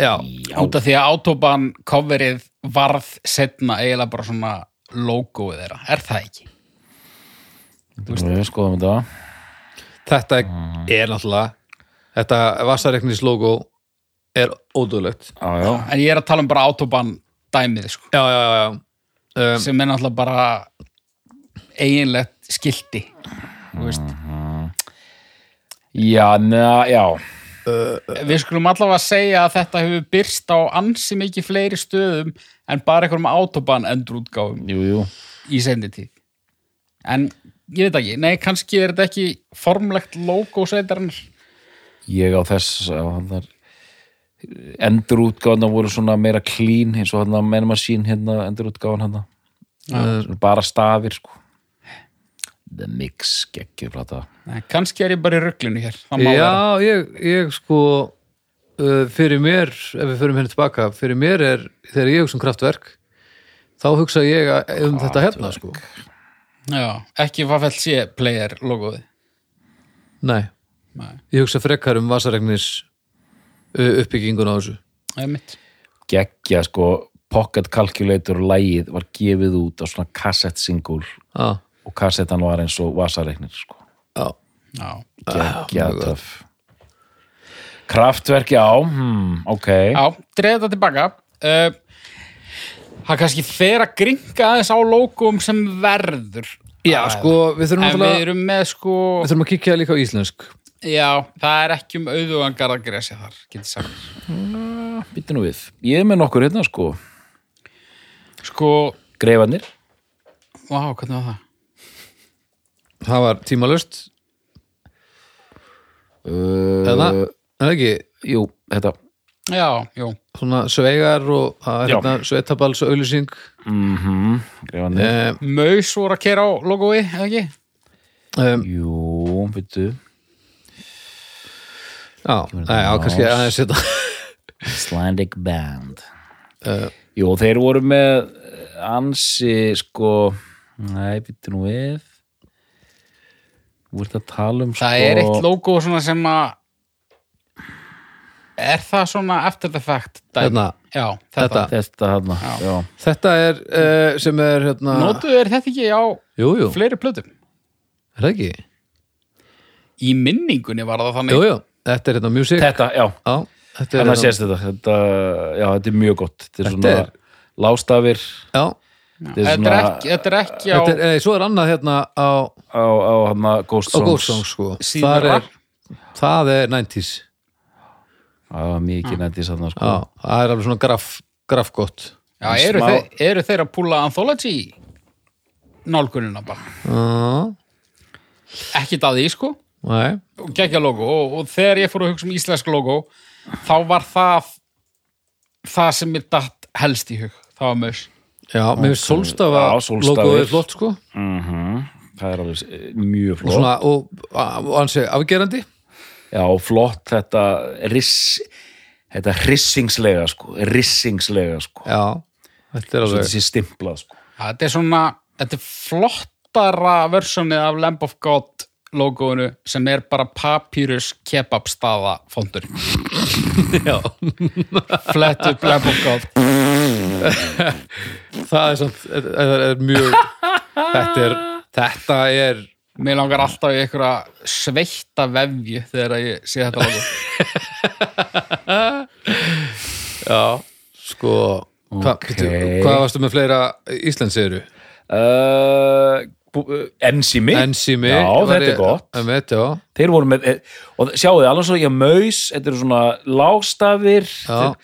já,
út af því að Autobahn coverið varð setna eiginlega bara svona logoið þeirra, er það ekki?
Við skoðum þetta
þetta
Mhm.
er náttúrulega þetta vassareknis logo er ódöðlegt
Já, já,
En ég er að tala um bara Autobahn dæmið sko,
já, já, já, já um,
sem er náttúrulega bara eiginlegt skilti þú veist.
já, na, já
Við skulum allavega segja að þetta hefur byrst á ansi mikið fleiri stöðum en bara einhverjum Autobahn endurútgáfum
Jú, jú,
í seinni tíð. En ég veit ekki, nei, kannski er þetta ekki formlegt logo sveitarinn
ég á þess á, hann er endurútgáðna voru svona meira clean eins og hann að menn masín hérna endurútgáðan hann Svona bara stafir sko The Mix geggjur plata
Nei, kannski er ég bara í rugglinu hér það má vera.
Já, ég, ég sko uh, fyrir mér, ef við förum henni tilbaka fyrir mér er, þegar ég hugsa um kraftverk þá hugsa ég að- um þetta hérna sko,
Já, ekki hvað fælt sé player logoði
nei
Nei.
ég hugsa frekar um vasaregnis uh, uppbyggingun á þessu
Það er mitt
geggja sko Pocket Calculator lægið var gefið út á svona kassett single
Já,
og kassettan var eins og vasareiknir sko
Oh
já,
Já,
geggja töf kraftverk já hmm, ok
Já dreif þetta tilbaka uh, Það kannski fer að gringa aðeins á logoum sem verður Eh,
já sko, við þurfum
Ah, En við
náttúrulega
erum með sko
við þurfum að kíkja líka á íslensk
Já, það er ekki um auðvögan garðagresi þar getur sagt
býttu nú við ég er með nokkur hérna sko
Sko,
greifanir
vá, hvernig var það?
það var tímalust
uh,
eða, eða ekki
jú þetta
Já, jú
svona sveigar og það er
Já.
hérna, sveitaballs og auðlýsing
Eh.
greifanir
um,
Maus voru að kera á logoi, eða ekki?
um,
jú býttu
Já, nei, já, kannski aðeins hérna. þetta
Icelandic Band
Eh,
Jú, þeir voru með ansi sko nei, býttu nú við voru þetta að tala um sko
Það er eitt logo svona sem að Er það svona after the fact dæmi?
Hérna.
Já, þetta,
Þetta.
þetta hérna
Já.
já.
Þetta er uh, sem er hérna
Notuðu er þetta ekki á
Jú, jú,
fleiri plötum
er það ekki?
Í minningunni var það þannig
Jú, jú, þetta er hérna music
þetta, já,
Já, þetta er hérna-
þannig að sést þetta þetta, já, þetta er mjög gott þetta er
Þetta
svona
er-
lástafir
Já,
Þetta er
Þetta er
svona
ekki, þetta er ekki á
Þetta er, eh, svo er annað hérna á,
á, á hana, Ghost
á
Songs.
Ghost Songs sko.
Síðar
Þar er, það er 90s
Já, mikið nætti sann sko.
Já, það er alveg svona graf, graf gott
Já, eru,
smá-
þeir, eru þeir að púla anthology nálgunina bara
Já,
ekki daði, sko,
nei
gekkja logo og, og þegar ég fór að hugsa um íslensk logo þá var það það sem mér datt helst í hug það var maus
Já, mér finnst sólstafa
Já, Sólstafir.
logoðið flott sko
Það er alveg eh, mjög
og
flott.
svona, og, og hans er afgerandi
Já, flott þetta riss, þetta rissingslega sko, rissingslega sko.
Já, þetta er
Svo
alveg
þetta sé stimplað sko.
þetta er svona, þetta er flottara versjónið af Lamb of God logoinu sem er bara papyrus kebab staða fondur
Já,
flett upp Lamb of God
það er samt, er, er, er mjög þetta er, þetta er
Mér langar alltaf í einhverja sveitta vefju þegar ég sé þetta logo.
sko hva,
Ókei.
okay. hvað varstu með fleira íslensiru?
Uh, bú- uh, Enzimi
Ensými
Já, þetta er gott
en veit, já,
Þeir voru með, eh, og sjáu þið, alveg svo ég maus, þetta eru svona lágstafir
Já.
Þeir-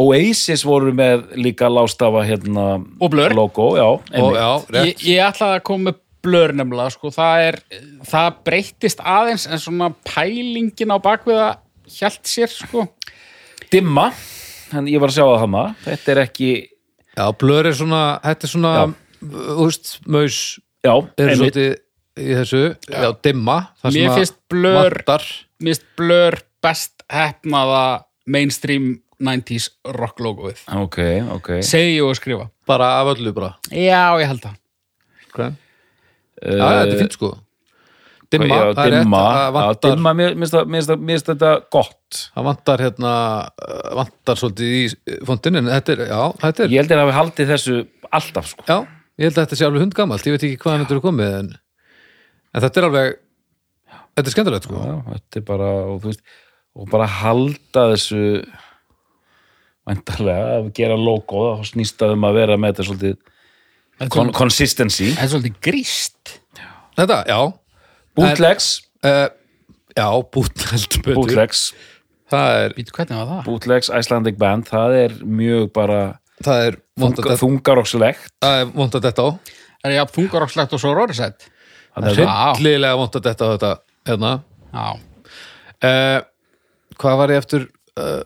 Oasis voru með líka lágstafa hérna
Og blör.
logo, já,
og,
einmitt.
já rétt
Ég, ég ætlaði að koma með blör nefnilega, sko. Það, er, það breyttist aðeins en svona pælingin á bakviða hjælt sér, sko.
dimma en ég var að sjá það hana, þetta er ekki
já, blör er svona, þetta er svona úst, maus
já,
er
einmitt,
svolítið í þessu já, dimma, það
Mér
sem að
finnst blör-
vantar.
Mér finnst blör best hefnaða mainstream 90s rock logoið.
ok, ok
Segji ég og skrifa.
bara af öllu bara
Já, ég held það.
okay. já, þetta er fínt sko dimma,
Eh, já,
það er rétt,
dimma,
það
já,
vantar
dimma mér mér finnst það- mér finnst það- mér finnst þetta gott
það vantar hérna eh, vantar svolítið í fóndin en þetta er, já, þetta er
ég held að hafa haldið þessu alltaf sko.
já, ég held að þetta sé alveg hundgamalt ég veit ekki hvaðan þetta eru komið en, en þetta er alveg þetta er skemmtilegt sko
já, þetta er bara og, þú veist, og bara halda þessu væntarlega að gera logo þá snýst það um að vera með þetta svolítið kon consistency
Það er svolítið gríst.
þetta, já,
bootlegs,
uh, já, bútlelt betur
bootlegs,
það er,
Býtu, hvernig var það?
bootlegs Icelandic band það er mjög bara
það er vond að þetta-
þungarokkslegt
það er vond að þetta á
Er ég að þungarokslegt og svo rorisett?
það er
hryllilega vond að þetta á þetta hérna
Já.
uh, hvað var ég eftir uh,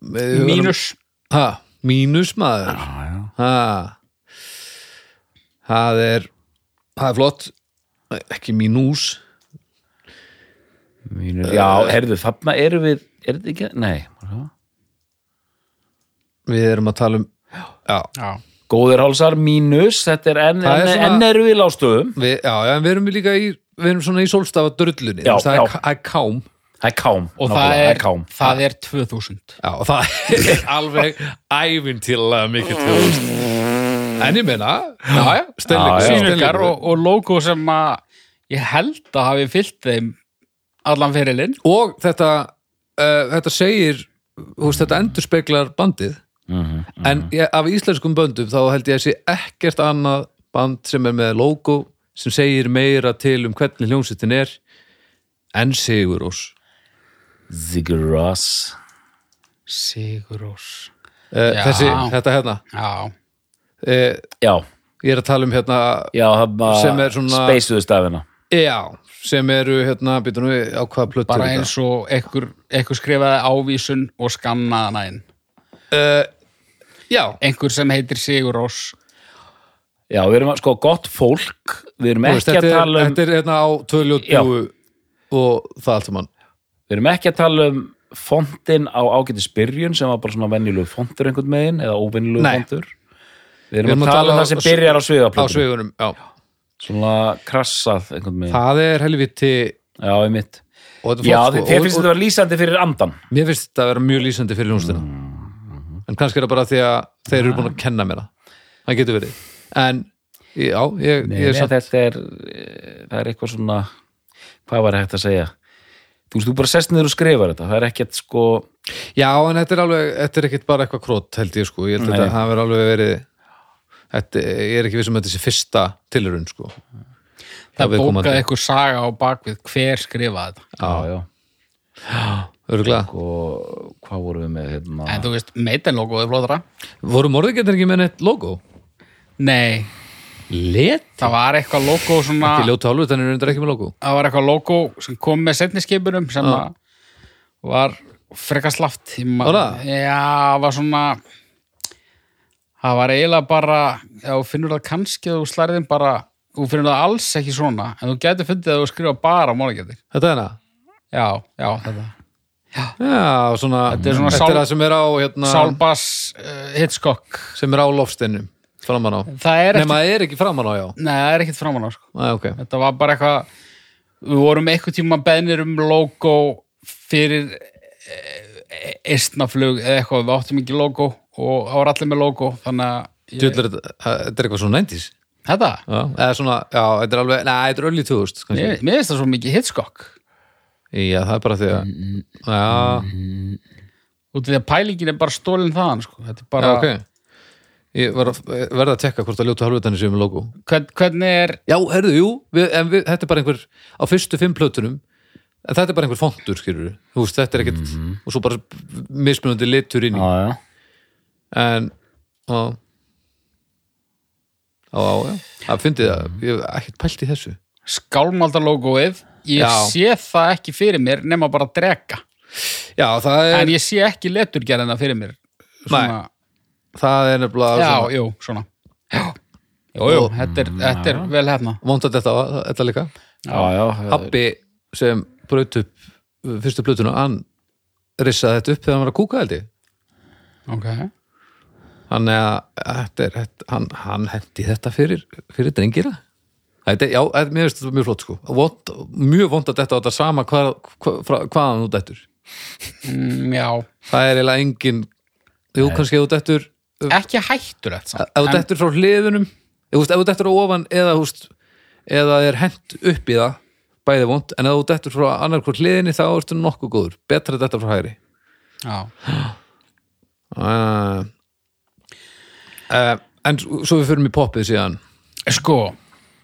Mínus.
ha, mínus maður
Ah,
ha. það er það er flott ekki mínús
Mínur, já, herðu, þarna erum við er þetta ekki, nei
við erum að tala um já,
Já.
góðir hálsar mínus, þetta er enn
Það er
en,
svona-
en erum við í lágstöðum
við, já, já, en við erum líka í við erum svona í sólstafa drullunni
Já,
það er,
já.
það er kám
það er kám,
og
nákvæmlega,
það er,
kám
það er 2000
já, og það er alveg æfintilega mikið tjóðust en ég meina, já, já,
Já, já.
steinleikur
sýningar og, og logo sem að ég held að hafi fyllt þeim allan fyrirlinn
og þetta uh, þetta segir húst, þetta endurspeglar bandið en ég, af íslenskum böndum þá held ég að sé ekkert annað band sem er með logo sem segir meira til um hvernig hljómsveitin er en Sigurós
Sigur Rós
Sigurós
uh,
Já.
þessi, þetta hérna
já,
uh,
já,
ég er að tala um hérna
já, hafna,
Sem er svona-
speisuðu stafina
já, sem eru hérna, býtum við á hvaða plötu
bara
er þetta?
eins og ekkur, ekkur skrifaði ávísun og skannaði hana inn
já,
einhver sem heitir Sigurós
já, við erum að- sko gott fólk við erum
þú veist,
ekki
þetta
að
er,
tala um
þetta er hérna á
Já.
tvöljóttúu og það allt saman
við erum ekki að tala um fontin á ágæti spyrjun sem var bara svona venjulegu fontur einhvern megin eða óvenjulegu
Nei.
fontur við erum, að tala um það sem
á-
byrjar á
á
sviðaplötum
sveigurum, já
svona krassað einhvern megin
það er helviti
já, ég mitt
og þetta er
Já,
flott,
þið
sko,
þér
og-
finnst
og-
þetta var lýsandi fyrir andan
mér finnst þetta að vera mjög lýsandi fyrir hljómsdina en kannski er það bara því að þeir eru búin að kenna mér það það getur verið en já, ég,
Nei,
ég er
nei,
samt
þetta er eh, það er eitthvað svona hvað var hægt að segja þú veist, þú bara sest niður og skrifar þetta það er ekkert sko
já, en þetta er alveg, þetta er ekkit bara eitthvað krót held ég sko, ég held
Nei.
þetta að það verið alveg verið þetta, ég er ekki viss um að þetta sé fyrsta tilurinn sko
það
við komandi.
bókaði eitthvað saga á bakvið hver skrifaði þetta
já, já.
Örgulega,
og hvað vorum við með
Eh,
hérna
en þú veist, meitinlogoði flóðra
voru morðingarnir ekki með neitt logo?
nei,
Let?
það var eitthvað logo svona,
Ekki ljóta hálfur, þannig er þetta ekki með logo
það var eitthvað logo sem kom með setniskipunum sem
Já.
að var frekar slaft já,
Var það?
það var svona það var eiginlega bara já, þú finnur það kannski að þú slærðin bara þú finnur það alls ekki svona en þú getur fundið að þú skrifa bara málgæti
Þetta er hana?
já, já, þetta
Já, svona, þetta
er svona sál-
það sem er á hérna,
Sálbass uh, Hitchcock
sem er á lofsteinum framan á,
það er
nema
ekkit,
það er ekki framan á já,
nei, það er ekkit framan á sko.
Æ, ok
þetta var bara eitthvað við vorum eitthvað tíma beðnir um logo fyrir eh, eistnaflug eða eitthvað, við áttum ekki logo og það var allir með logo þannig að ég,
Djöfull er þetta þetta er eitthvað svona 90s
þetta,
já, eða svona, já, þetta er alveg, neða, þetta er early 2000 kannski.
mér mér finnst það svo mikið Hitchcock
já, það er bara því að já,
út af því að pælingin er bara stólinn þaðan sko. þetta er bara,
já, ok ég var að, verða að tekka hvort að ljóta halvutanir séu með logo
hvern, hvernig er
já, herðu, jú, við, en við, þetta er bara einhver á fyrstu fimm plötunum en þetta er bara einhver fontur, skilur þú veist, þetta er ekkert,
Mhm.
og svo bara mismunandi litur inn í,
já, já.
en á, á, á, já það fyndið að, ég hef ekkert pælt í þessu
skálmaldalógoið ég
Já.
sé það ekki fyrir mér nema bara drega
já, það er,
en ég sé ekki leturgerðina fyrir mér svona,
það er nefnilega
já,
svona-
jú, svona já, jú, jú,
Og- Mm,
þetta er, þetta er vel hérna
vond að þetta, þetta líka
Já, já,
Pappi sem braut upp uh, fyrstu plötuna, hann rissaði þetta upp þegar hann var að kúka held ég
ok,
hann, er, að- þetta er, þetta, hann, hann hendi þetta fyrir, fyrir drengina þetta, er- já, þetta- mér finnst þetta mjög flott sko vond, mjög vond að þetta á þetta sama hvað, hvað, frá- hvaðan þú dettur
mm, já
það er eiginlega engin jú, kannski ef þú dettur ef
ekki hættur þetta
ef þú dettur frá hliðunum ef þú veist, ef þú dettur á ofan eða, þú veist, eða er hent upp í það bæði vond, en ef þú dettur frá annarkvort hliðinni þá ertu nokkuð góður, betra að detta frá hægri
já,
uh, uh, en s- svo við förum í poppið síðan
sko,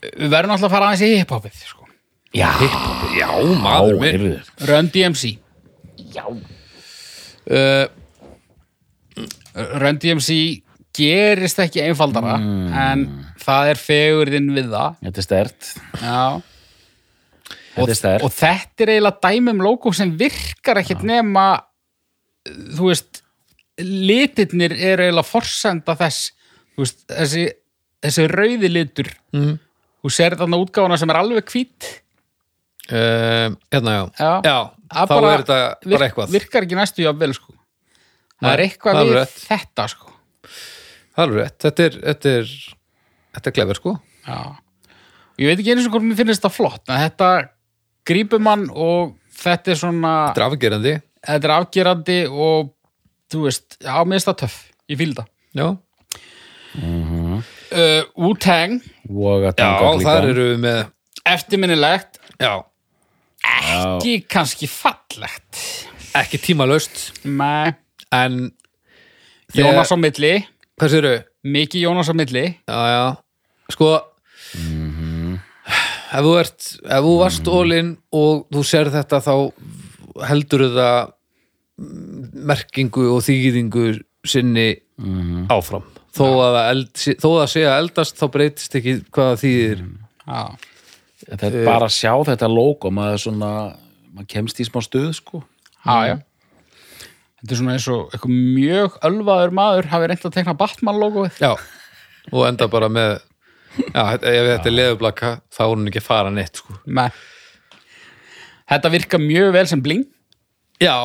við verðum alltaf að fara aðeins í hiphopið sko.
já,
já,
já,
maður minn
heyrðu.
Run DMC
uh,
Run DMC gerist ekki einfaldara en það er fegurðin við það
þetta er stert
já
þetta er stert
og þetta er eiginlega dæmi um logo sem virkar ekkert nema þú veist litirnir eru eiginlega forsenda þess þú veist, þessi, þessi rauði litur mm.
Mhm.
þú sér þarna útgáfuna sem er alveg hvít
uh, hérna já,
Já.
þá er þetta bara eitthvað
virkar ekki næstu jafnvel sko það er eitthvað
það er
við
rétt.
þetta sko
það er alveg rétt, þetta er þetta er, þetta er klefur sko
já. Og ég veit ekki eins og hvort mér finnst þetta flott en þetta grípur mann og þetta er svona
drafagerandi,
þetta er afgerandi og þú veist, já, mér finnst það töff ég fíl það
já
uh, Wu-Tang,
og að
já,
tanga
þar eru við með
eftirminnilegt
já,
ekki kannski fallegt
ekki tímalaust
með
en Þegar-
Jónas á milli
hvað séru?
mikið Jónas á milli
Já, já, sko ef þú ert ef þú varst mm og þú sér þetta þá heldur það merkingu og þýðingu sinni áfram þó að, það eld, þó að það sé að eldast þá breytist ekki hvað það þýðir
já,
þetta
Eh.
er bara að sjá þetta logo maður svona, maður kemst í smá stuð sko
Mm.
já, já þetta er svona eins og eitthvað mjög ölvaður maður hafi reynt að tekna Batman logoið
já, og enda bara með já, þetta- ef þetta er leðublaka þá er hún ekki að fara neitt sko.
með þetta virka mjög vel sem bling
já,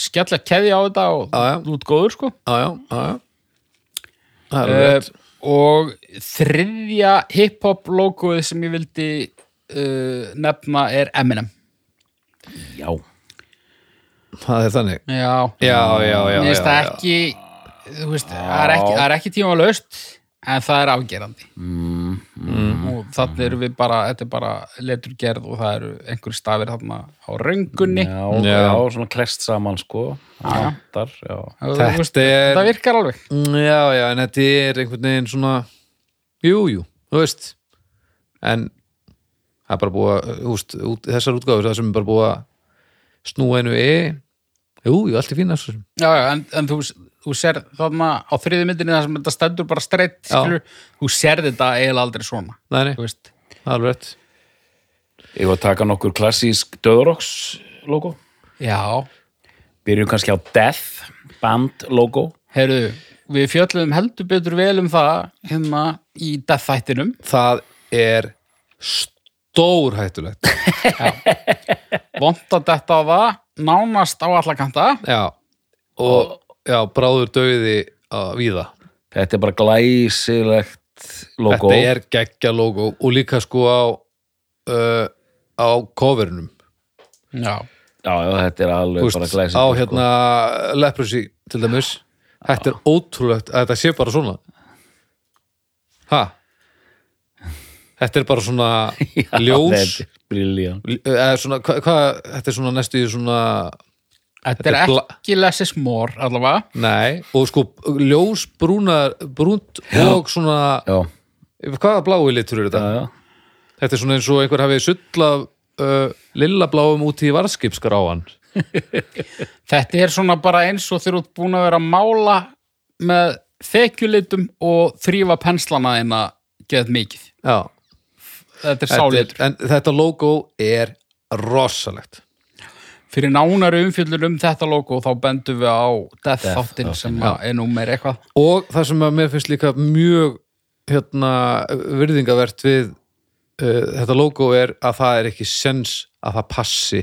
skella keði á þetta og
Já, já.
út góður sko
já, já, já, já. það er
uh,
rétt
og þriðja hiphop logoið sem ég vildi uh, nefna er Eminem
já,
það er þannig
já,
já, já, já,
Mér finnst
já,
það
já.
ekki, þú veist, það er ekki, það er ekki tímalaust, en það er afgerandi.
mm,
og
mm.
þannig erum við bara, þetta er bara leturgerð og það eru einhverjir stafir þarna á röngunni
já,
Já.
já, svona klest saman sko Vantar, já.
Og
Þetta
þú veist,
er-
þetta virkar alveg
Mm, Já, já, en þetta er einhvern veginn svona Jú, jú, þú veist En það er bara búið að, þú veist, út, þessar útgáfur það sem er bara búið að snúa einu e Jú, jú, allt er fín þessu sem
já, já, en, en þú, þú sér þarna á þriði myndinni þar sem þetta stendur bara streitt
Já.
skilur, þú sér þetta eiginlega aldrei svona
Nei, nei,
þú veist
það er alveg rétt
Ég var að taka nokkur klassísk döðroks logo
já,
Byrjum kannski á Death Band logo
heyrðu, við fjöllum heldur betur vel um það hérna í death-þættinum
Það er stórhættulegt
vont að detta á það, nánast á alla kanta
Já, og já, bráður dauði að víða
Þetta er bara glæsilegt logo
Þetta er geggja logo og líka sko á uh, á coverunum
já,
Já, já, þetta er alveg
Þú
bara sko.
veist,
glæsilegt
á hérna leprosy til dæmis þetta er ótrúlegt að þetta sé bara svona ha þetta er bara svona ljós
Þetta er briljant
eða svona, hva, hva, þetta er svona næstu í svona
þetta er
Þetta er gla-
ekki less is more allavega
nei, og sko ljós brúnar, brúnt og svona
Já,
hvaða blái litur er
já,
þetta?
já
þetta er svona eins og einhver hafið sulla uh, lilla bláum út í varskipskráan
Þetta er svona bara eins og þeir út búin að vera að mála með þekjulitum og þrýfa penslana þeim að geða mikið.
já
Þetta er
þetta,
sálitur.
er- en þetta logo er rosalegt
Fyrir nánari umfjöllur um þetta logo þá bendum við á Death Þáttin sem að er nú meir eitthvað.
og það sem að mér finnst líka mjög hérna, virðingavert við uh, þetta logo er að það er ekki sens að það passi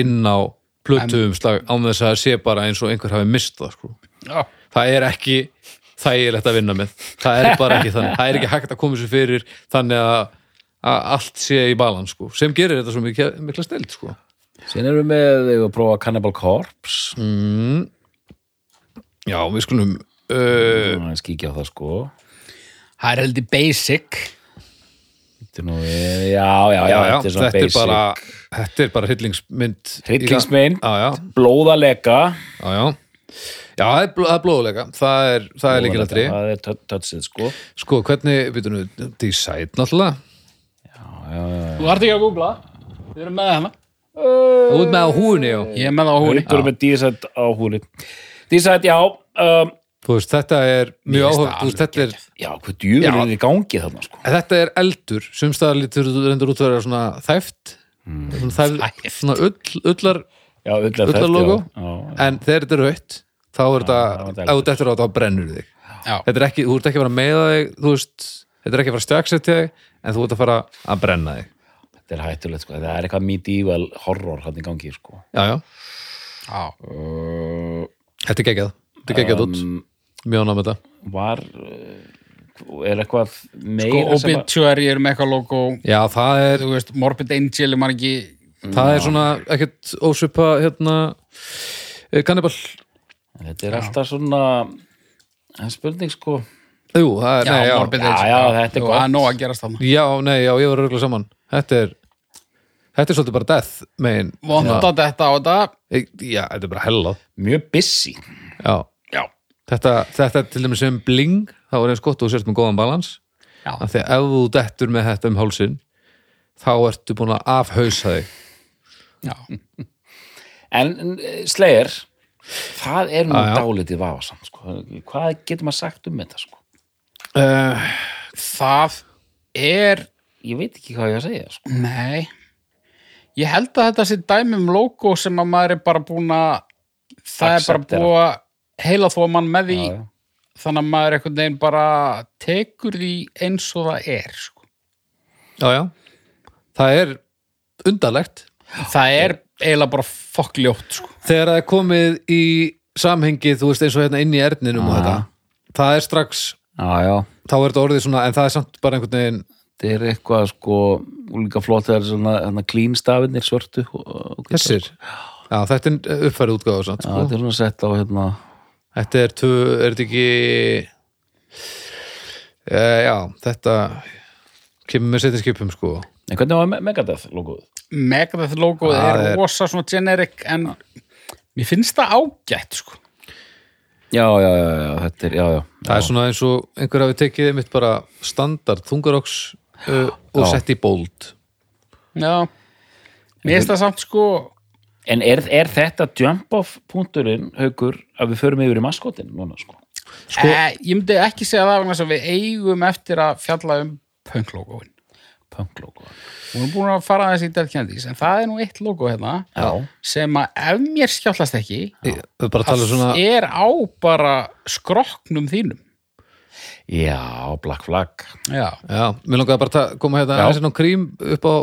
inn á plötuumslag án þess að það sé bara eins og einhver hafi mist það sko.
Já.
það er ekki þægilegt að vinna með það er bara ekki þannig, það er ekki hægt að koma sér fyrir þannig að, að allt sé í balans sko, sem gerir þetta svo mikla, mikla stilt sko.
Sýn erum við með eigum að prófa Cannibal Corpse
já, við skulum uh,
mm. Skíkja á það sko
Það er heldur basic.
Þetta er nú, eh, já, já, já,
já, já,
þetta er svona
þetta er
basic
bara þetta er bara hryllingsmynd í-
Hryllingsmynd.
já, já,
Blóðalega
já, já já, það er, bló, það er blóðuleika það er, það er líkilatri
Það er tö- touchið sko
sko, hvernig, við við, design náttúrulega
Þú ert ekki að googla. Við erum með hana.
út með á húinu, já
Ég er með það á húnni.
Haukur með dísætt á húli Dísætt, já um,
þú veist, þetta er mjög
finnst það
áhuga veist, þetta, er,
Já, hvað djúður
Já.
er þetta í gangi þarna sko
þetta er eldur sumstaðar lítur þú reyndur út að vera svona þæft
Hmm.
svona, þæft, svona ull, ullar
Já, ullar þetta,
ullarlogo,
já, já.
en þegar þetta er rautt þá er
já, þetta
þetta,
er
ef þú dettur á þetta þá brennur þig
Já.
þetta er ekki, þú ert ekki að fara að meiða þig þú veist, þetta er ekki að fara að stjagsætja þig en þú ert að fara að brenna þig
Þetta er hættulegt sko, það er eitthvað medieval horror hann í gangi sko
já, já,
Já.
þetta er geggjað þetta er geggjað
Um,
út, mjög ánægð með þetta
Var uh, er eitthvað
Sko,
meira sem að
Obituary er með eitthvað logo.
já, það er,
Þú veist, Morbid Angel er maður ekki...
það er svona ekkert ósvipa hérna eh, kannibal,
Þetta er alltaf svona það er spurning sko
jú, það er, nei, já
Morbid
Já,
Angel.
já, þetta er
Jú,
gott.
Það er nóg að gerast þarna.
já, nei, já, ég var örgulega saman þetta er, þetta er svolítið bara death megin,
Vonda þetta á þetta.
Eh, já, þetta er bara hellað
mjög busy
já,
Já.
þetta, þetta til dæmis sem bling þá er eins gott og þú sért með góðan balans
Já.
af því að ef þú dettur með þetta um hálsin þá ertu búin að afhausa þig
Já.
En eh, Slayer það er nú
Já, já.
dálítið vafasamt sko. Hvað getur maður sagt um þetta sko
uh,
það er
Ég veit ekki hvað ég að segja sko
nei ég held að þetta sé dæmi um logo sem að maður er bara búin að það er bara
Acceptera.
búið að heila þó að mann með því
Já, já.
þannig að maður einhvern veginn bara tekur því eins og það er sko.
já, já. það er undarlegt
það er eiginlega bara fokkljótt sko.
þegar það er komið í samhengi þú veist eins og hérna inn í erninum og þetta það er strax,
Já, já,
þá er þetta orðið svona en það er samt bara einhvern veginn
þetta er eitthvað sko líka flott þegar svona hana, clean stafinir svörtu og- og hvítar,
þessir
sko.
já, þetta er uppfæri útgáðu samt
Já,
sko.
þetta er svona sett á hérna
Þetta er tvö, er þetta ekki e, Já, þetta kemur með setjaskipum sko
En hvernig var Me- Megadeth logoð?
Megadeth logoð
Það
er
er-
rosa svona generic en mér finnst það ágætt sko.
Já, já, já, já, þetta er, já, já.
það er svona eins og einhver hafi tekið einmitt bara standard þungaroks uh, og
Já.
sett í bold
Já Mér finnst það samt sko
En er, er þetta jump-off punkturinn, haukur, að við förum yfir í maskotin núna, sko?
Sko, ég myndi ekki segja það vegna þess að við eigum eftir að fjalla um punk logoin.
Punk logo.
Við erum búin að fara aðeins í Dead Kennedys en það er nú eitt logo hérna
Já.
sem að ef mér skjálfast ekki
Ég- við bara tala svona
er á bara skrokknum þínum.
Já, Black Flag.
Já.
Já, mér langaði bara að ta- koma hérna
Já.
aðeins inn á krím upp á,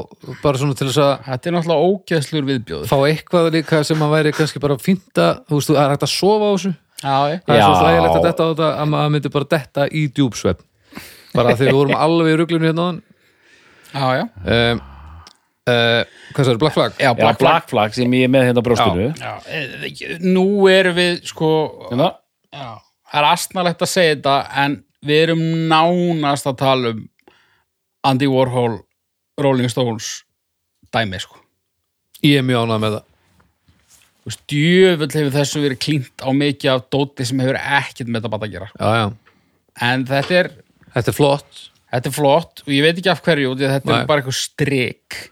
bara svona til þess að
Þetta er náttúrulega ógeðslur viðbjóður.
fá eitthvað líka sem að væri kannski bara fínt að, þú veist, þú er hægt að sofa á þessu
Já, ég.
það er svo
Já.
þægilegt að detta á þetta að maður myndi bara detta í djúpsvepp bara þegar við vorum alveg í ruglunum hérna áðan.
já, já.
um, uh, hvað sagði, Black Flag?
Já,
Já, Black,
Black Flag.
Flag sem ég er með hérna á brjóstinu.
Já, eh, nú erum við sko,
Hérna,
já, það er astnalegt að segja þetta en við erum nánast að tala um Andy Warhol Rolling Stones dæmi sko.
Ég er mjög ánað með það
Þú veist, djöfull hefur þessu verið klínt á mikið af dóti sem hefur ekkert með þetta bara að gera.
já, já.
En þetta er,
Þetta er flott
þetta er flott og ég veit ekki af hverju, út í að þetta
Nei.
er bara eitthvað strik.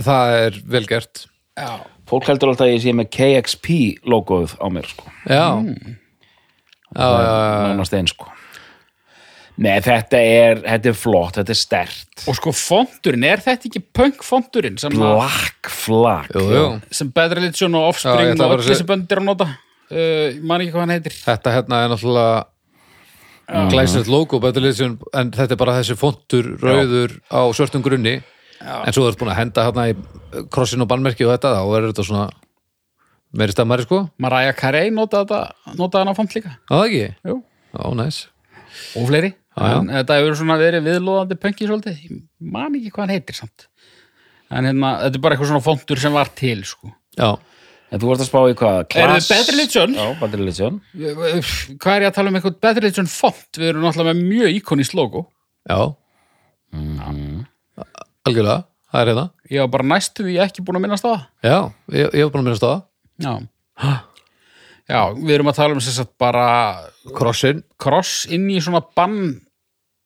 það er vel gert
Já.
fólk heldur alltaf að ég sé með KXP logoð á mér, sko.
Já, Mm. já, já, já.
Nánast einn, sko. Nei, þetta er, þetta er flott, þetta er stert.
Og sko fondurinn, er þetta ekki punk fondurinn sem, að-
Black Flag.
Jú, jú.
sem Bad Religion og
Já, ég
Offspring
ætla
og
bara að
öll
segja-
þessi böndir að nota? Uh, ég man ekki hvað hann heitir.
Þetta hérna er náttúrulega glæsnett logo Battle Edition en þetta er bara þessi fontur rauður á svörtum grunni en svo þú ert búin að henda hérna í krossin og bannmerki og þetta þá er þetta svona meiri stammari sko,
Mariah Carey notaði þetta- notaði hann á fond líka.
að það ekki?
Jú.
Ó, næs
Og fleiri.
Já, já.
En þetta hefur svona verið viðlóðandi punki svolítið. Ég man ekki hvað hann heitir samt. En hérna, þetta er bara eitthvað svona fondur sem var til, sko.
Já,
En þú vorst að spá í hvað?
Eruð
Class-
þið Bad Religion?
Já, Bad Religion.
Hvað er ég að tala um eitthvað Bad Religion font? Við erum náttúrulega með mjög íkonist logo.
já Mm. Algjörlega, það er hérna
Ég var bara næstu því ekki búin að minnast á það.
Já, ég, ég var búin að minnast á það
Já. Já, við erum að tala um sem sagt bara
Krossin,
kross inn í svona bann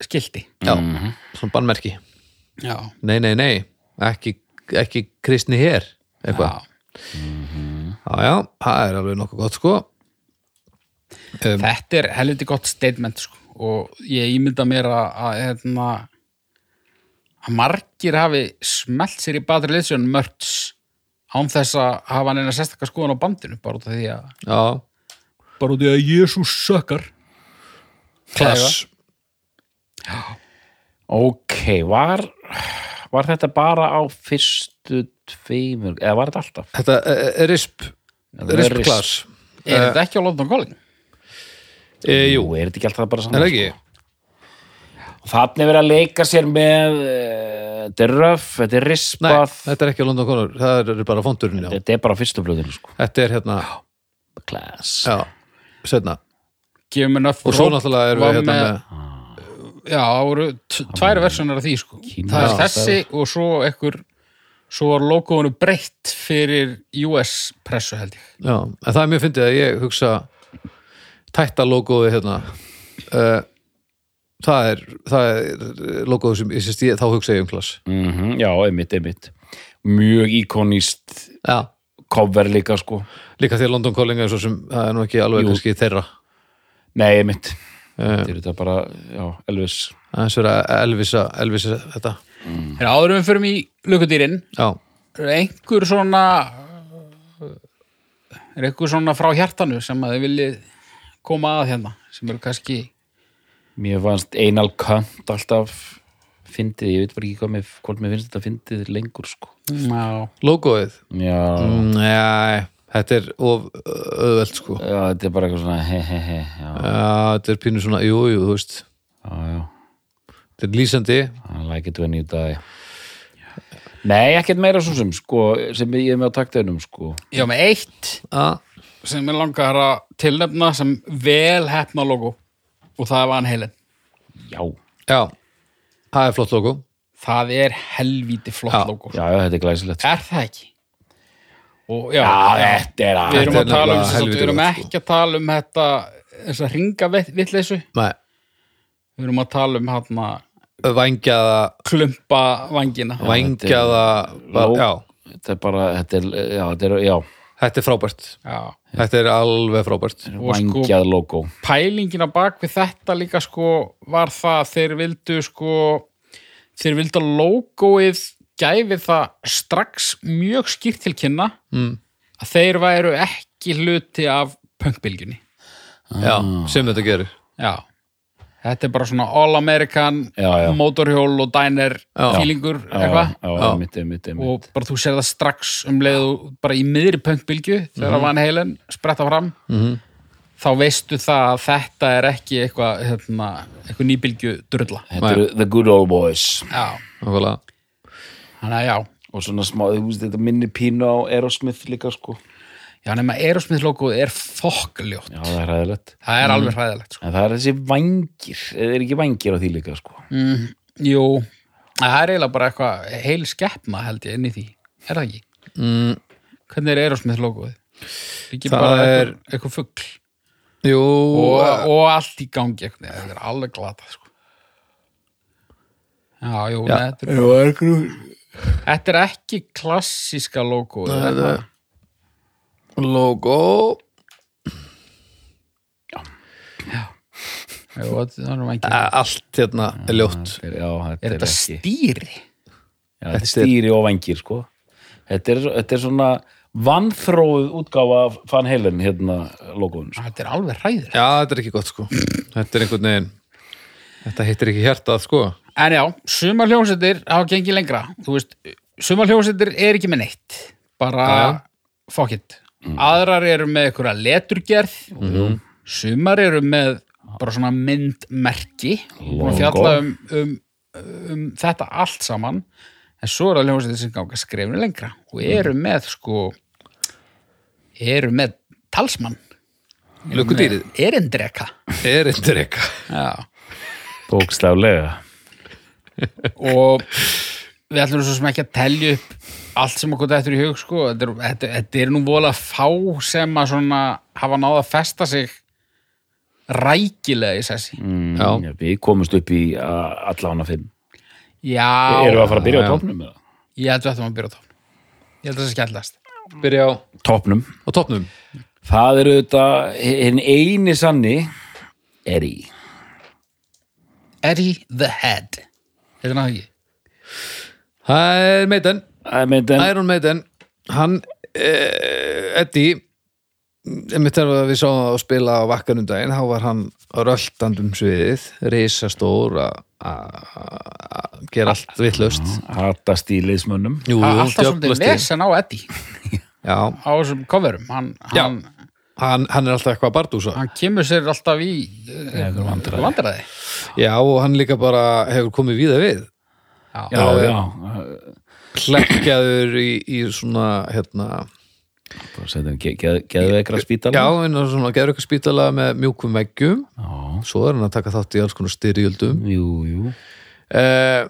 skildi.
já,
Mhm.
svona bannmerki
Já.
Nei, nei, nei, ekki, ekki kristni hér eitthvað
Já.
Já, já, það er alveg nokkuð gott sko um,
Þetta er helviti gott statement sko. og ég ímynda mér að, að, hérna, að margir hafi smelt sér í Bad Religion mörts án þess að hafa neina sérstakar skoðan á bandinu bara út af því að
Já,
bara út af því að Jésús sökkar
klass
Ok, var, var þetta bara á fyrstu tveimur, eða var þetta alltaf?
Þetta eh, eh, risp
er
Risp
risp.
klass
Er
Eh.
þetta ekki á London Calling?
e, Jú,
er þetta ekki alltaf bara
er
saman?
það ekki?
Þannig verið að leika sér með, eh, þetta er röf, þetta er
Nei,
rispað,
þetta er ekki á London Conor Það er bara fondurinn, já
þetta er bara á fyrstu blöðinu, sko.
Þetta er hérna,
Class.
já, setna
Gefum en öfn
Og svo náttúrulega erum við hérna með
Já, það voru t- tvær versjónar af því sko. Það er
Já.
þessi og svo ekkur svo var logoinu breytt fyrir US pressu held ég
Já, en það er mjög fyndið að ég hugsa tætta logoði hérna uh, það er, það er logoði sem ég sést ég, þá hugsa ég um klass
Mm já, einmitt, einmitt. Mjög íkonist
Já,
cover líka, sko.
líka því að London Calling er svo sem það er nú ekki alveg
Jú.
kannski þeirra
Nei, einmitt.
Eh.
Þetta er þetta bara, já, Elvis.
aðeins vera Elvisa, Elvisa þetta Mm.
En áður en við förum í lukudýrin
Já,
er einhver svona er einhver svona frá hjartanu sem að þið viljið koma að hérna sem eru kannski
Mér fannst Einal Kant alltaf fyndið, ég veit bara ekki hvað mér, hvort mér finnst þetta fyndið lengur, sko.
Mm.
já,
logoðið
Já,
Mm.
Nei, þetta er of öðveld sko Já,
já, þetta er bara eitthvað svona he he he, já,
þetta er pínu svona, jú, jú, þú veist
já, já.
þetta er lýsandi
I like it when you die. Nei, ekkert meira svo sem, sko, sem ég er með á takteginum, sko.
já með eitt
að,
sem er langar að tilnefna sem vel hefna logo og það var hann heilin
Já,
Já, það er flott logo
það er helvíti flott
Já.
logo
já, já, þetta er glæsilegt sko.
er það ekki og já,
Já, þetta er
við erum
Þetta
að
er
tala
nefnilega
um þess að við
helvíti
erum
gott, sko.
ekki að tala um þetta þess að ringa vitleysu
Nei,
við erum að tala um hérna
vangjaða
klumpa vangina
vangjaða
Ló-
já,
Þetta er bara, þetta er, já, þetta er, já
þetta er frábært
já.
þetta er alveg frábært
Og sko-
Vangjað logo
pælingin á bak við þetta líka sko var það að þeir vildu sko þeir vildu að logoið gæfi það strax mjög skýrt til kynna mm. að þeir væru ekki hluti af punkbylgjunni
já, sem þetta gerir
já þetta er bara svona all American
Já, já.
motorhjól og diner
Já.
fílingur
Já,
eitthvað
já,
Já.
mitt, mitt, mitt
og bara þú sér það strax um leiðu bara í miðri punkbylgju þegar
Mhm.
mm Van Halen spretta fram -hmm. þá veistu það að þetta er ekki eitthvað hérna, eitthvað nýbylgju drulla
Þetta eru the good old boys
já,
Nákvæmlega.
þannig að já
og svona smá, þú veist, þetta minni pínu á Aerosmith líka, sko
já, nema Aerosmith logoð er fokkljótt
Já, það er hæðilegt
það
Mhm.
er alveg hræðilegt sko.
En það er þessi vangir, eða er ekki vangir á því líka, sko
jú, það er eiginlega bara eitthvað heil skeppna held ég inn í því er það ekki? Mm. hvernig er Aerosmith logoð? ekki
Það
bara
er-
eitthvað, eitthvað fugl
jú,
og, og allt í gangi einhvern veginn, þetta er alveg glata sko. já, jú,
Já.
nei, Þetta, er, þetta er ekki klassíska logo nei, nei.
logo
Jú, þetta, það er nú ekki-
allt hérna er ljótt
Þetta er- Já, þetta
er
er
þetta
ekki
stýri?
Já, þetta er stýri og vangir, sko Þetta er, þetta er svona vannþróið útgáfa af Van Halen, hérna, logoðun, sko
þetta er alveg hræður
já, þetta er ekki gott sko þetta er einhvern veginn þetta hittir ekki hjartað sko
en já, sumar hljómsveitir hafa gengið lengra þú veist, sumar hljómsveitir er ekki með neitt bara
Já. Mm.
fuck it aðrar eru með einhverja leturgerð
Mhm.
sumar eru með bara svona myndmerki og
Logo.
fjalla um, um, um þetta allt saman en svo eru að hljómsveitir sem ganga skrefinu lengra og
Mm.
eru með sko eru með talsmann
lukkudýrið
erindreka
er eitthvað eitthvað
já
Bókstaflega
og við ætlum svo sem ekki að telja upp allt sem okkur þetta er í hug sko. þetta, er, þetta, þetta er nú vola fá sem að svona hafa náð að festa sig rækilega í sessi
mm,
Já.
já, Við komumst upp í uh, allána fimm
já,
Erum við að fara að byrja
Já,
á
já.
topnum? eða?
ég held að þetta maður byrja á tónum ég held að það sé skemmtilegast
byrja á,
Topnum
á topnum
Það eru þetta, hinn eini sanni er í
Eddie the Head heitir hann það ekki?
það er meiten
Það myndi en
Iron Maiden hann, eh, Eddie mitt er að við sáum það að spila á vakkanum daginn, þá var hann röltand um sviðið, risastór að- að að gera allt vittlust
Mm. Hattast í liðsmönnum
Jú,
Það er
jú,
alltaf svolítið
djöflasti.
lesen á Eddie
Já,
á þessum coverum hann,
Já.
hann,
hann, hann er alltaf eitthvað að bardúsa
hann kemur sér alltaf í eh, vandræði
Já, og hann líka bara hefur komið víða við
já,
Já,
Já,
já,
klekkjaður í, í svona hérna,
bara setja hann ge- geð- geðveikra spítala
já, en á svona gerur eitthvað spítala með mjúkum veggjum
Já,
svo er hann að taka þátt í alls konar styrjöldum
jú, jú
eh,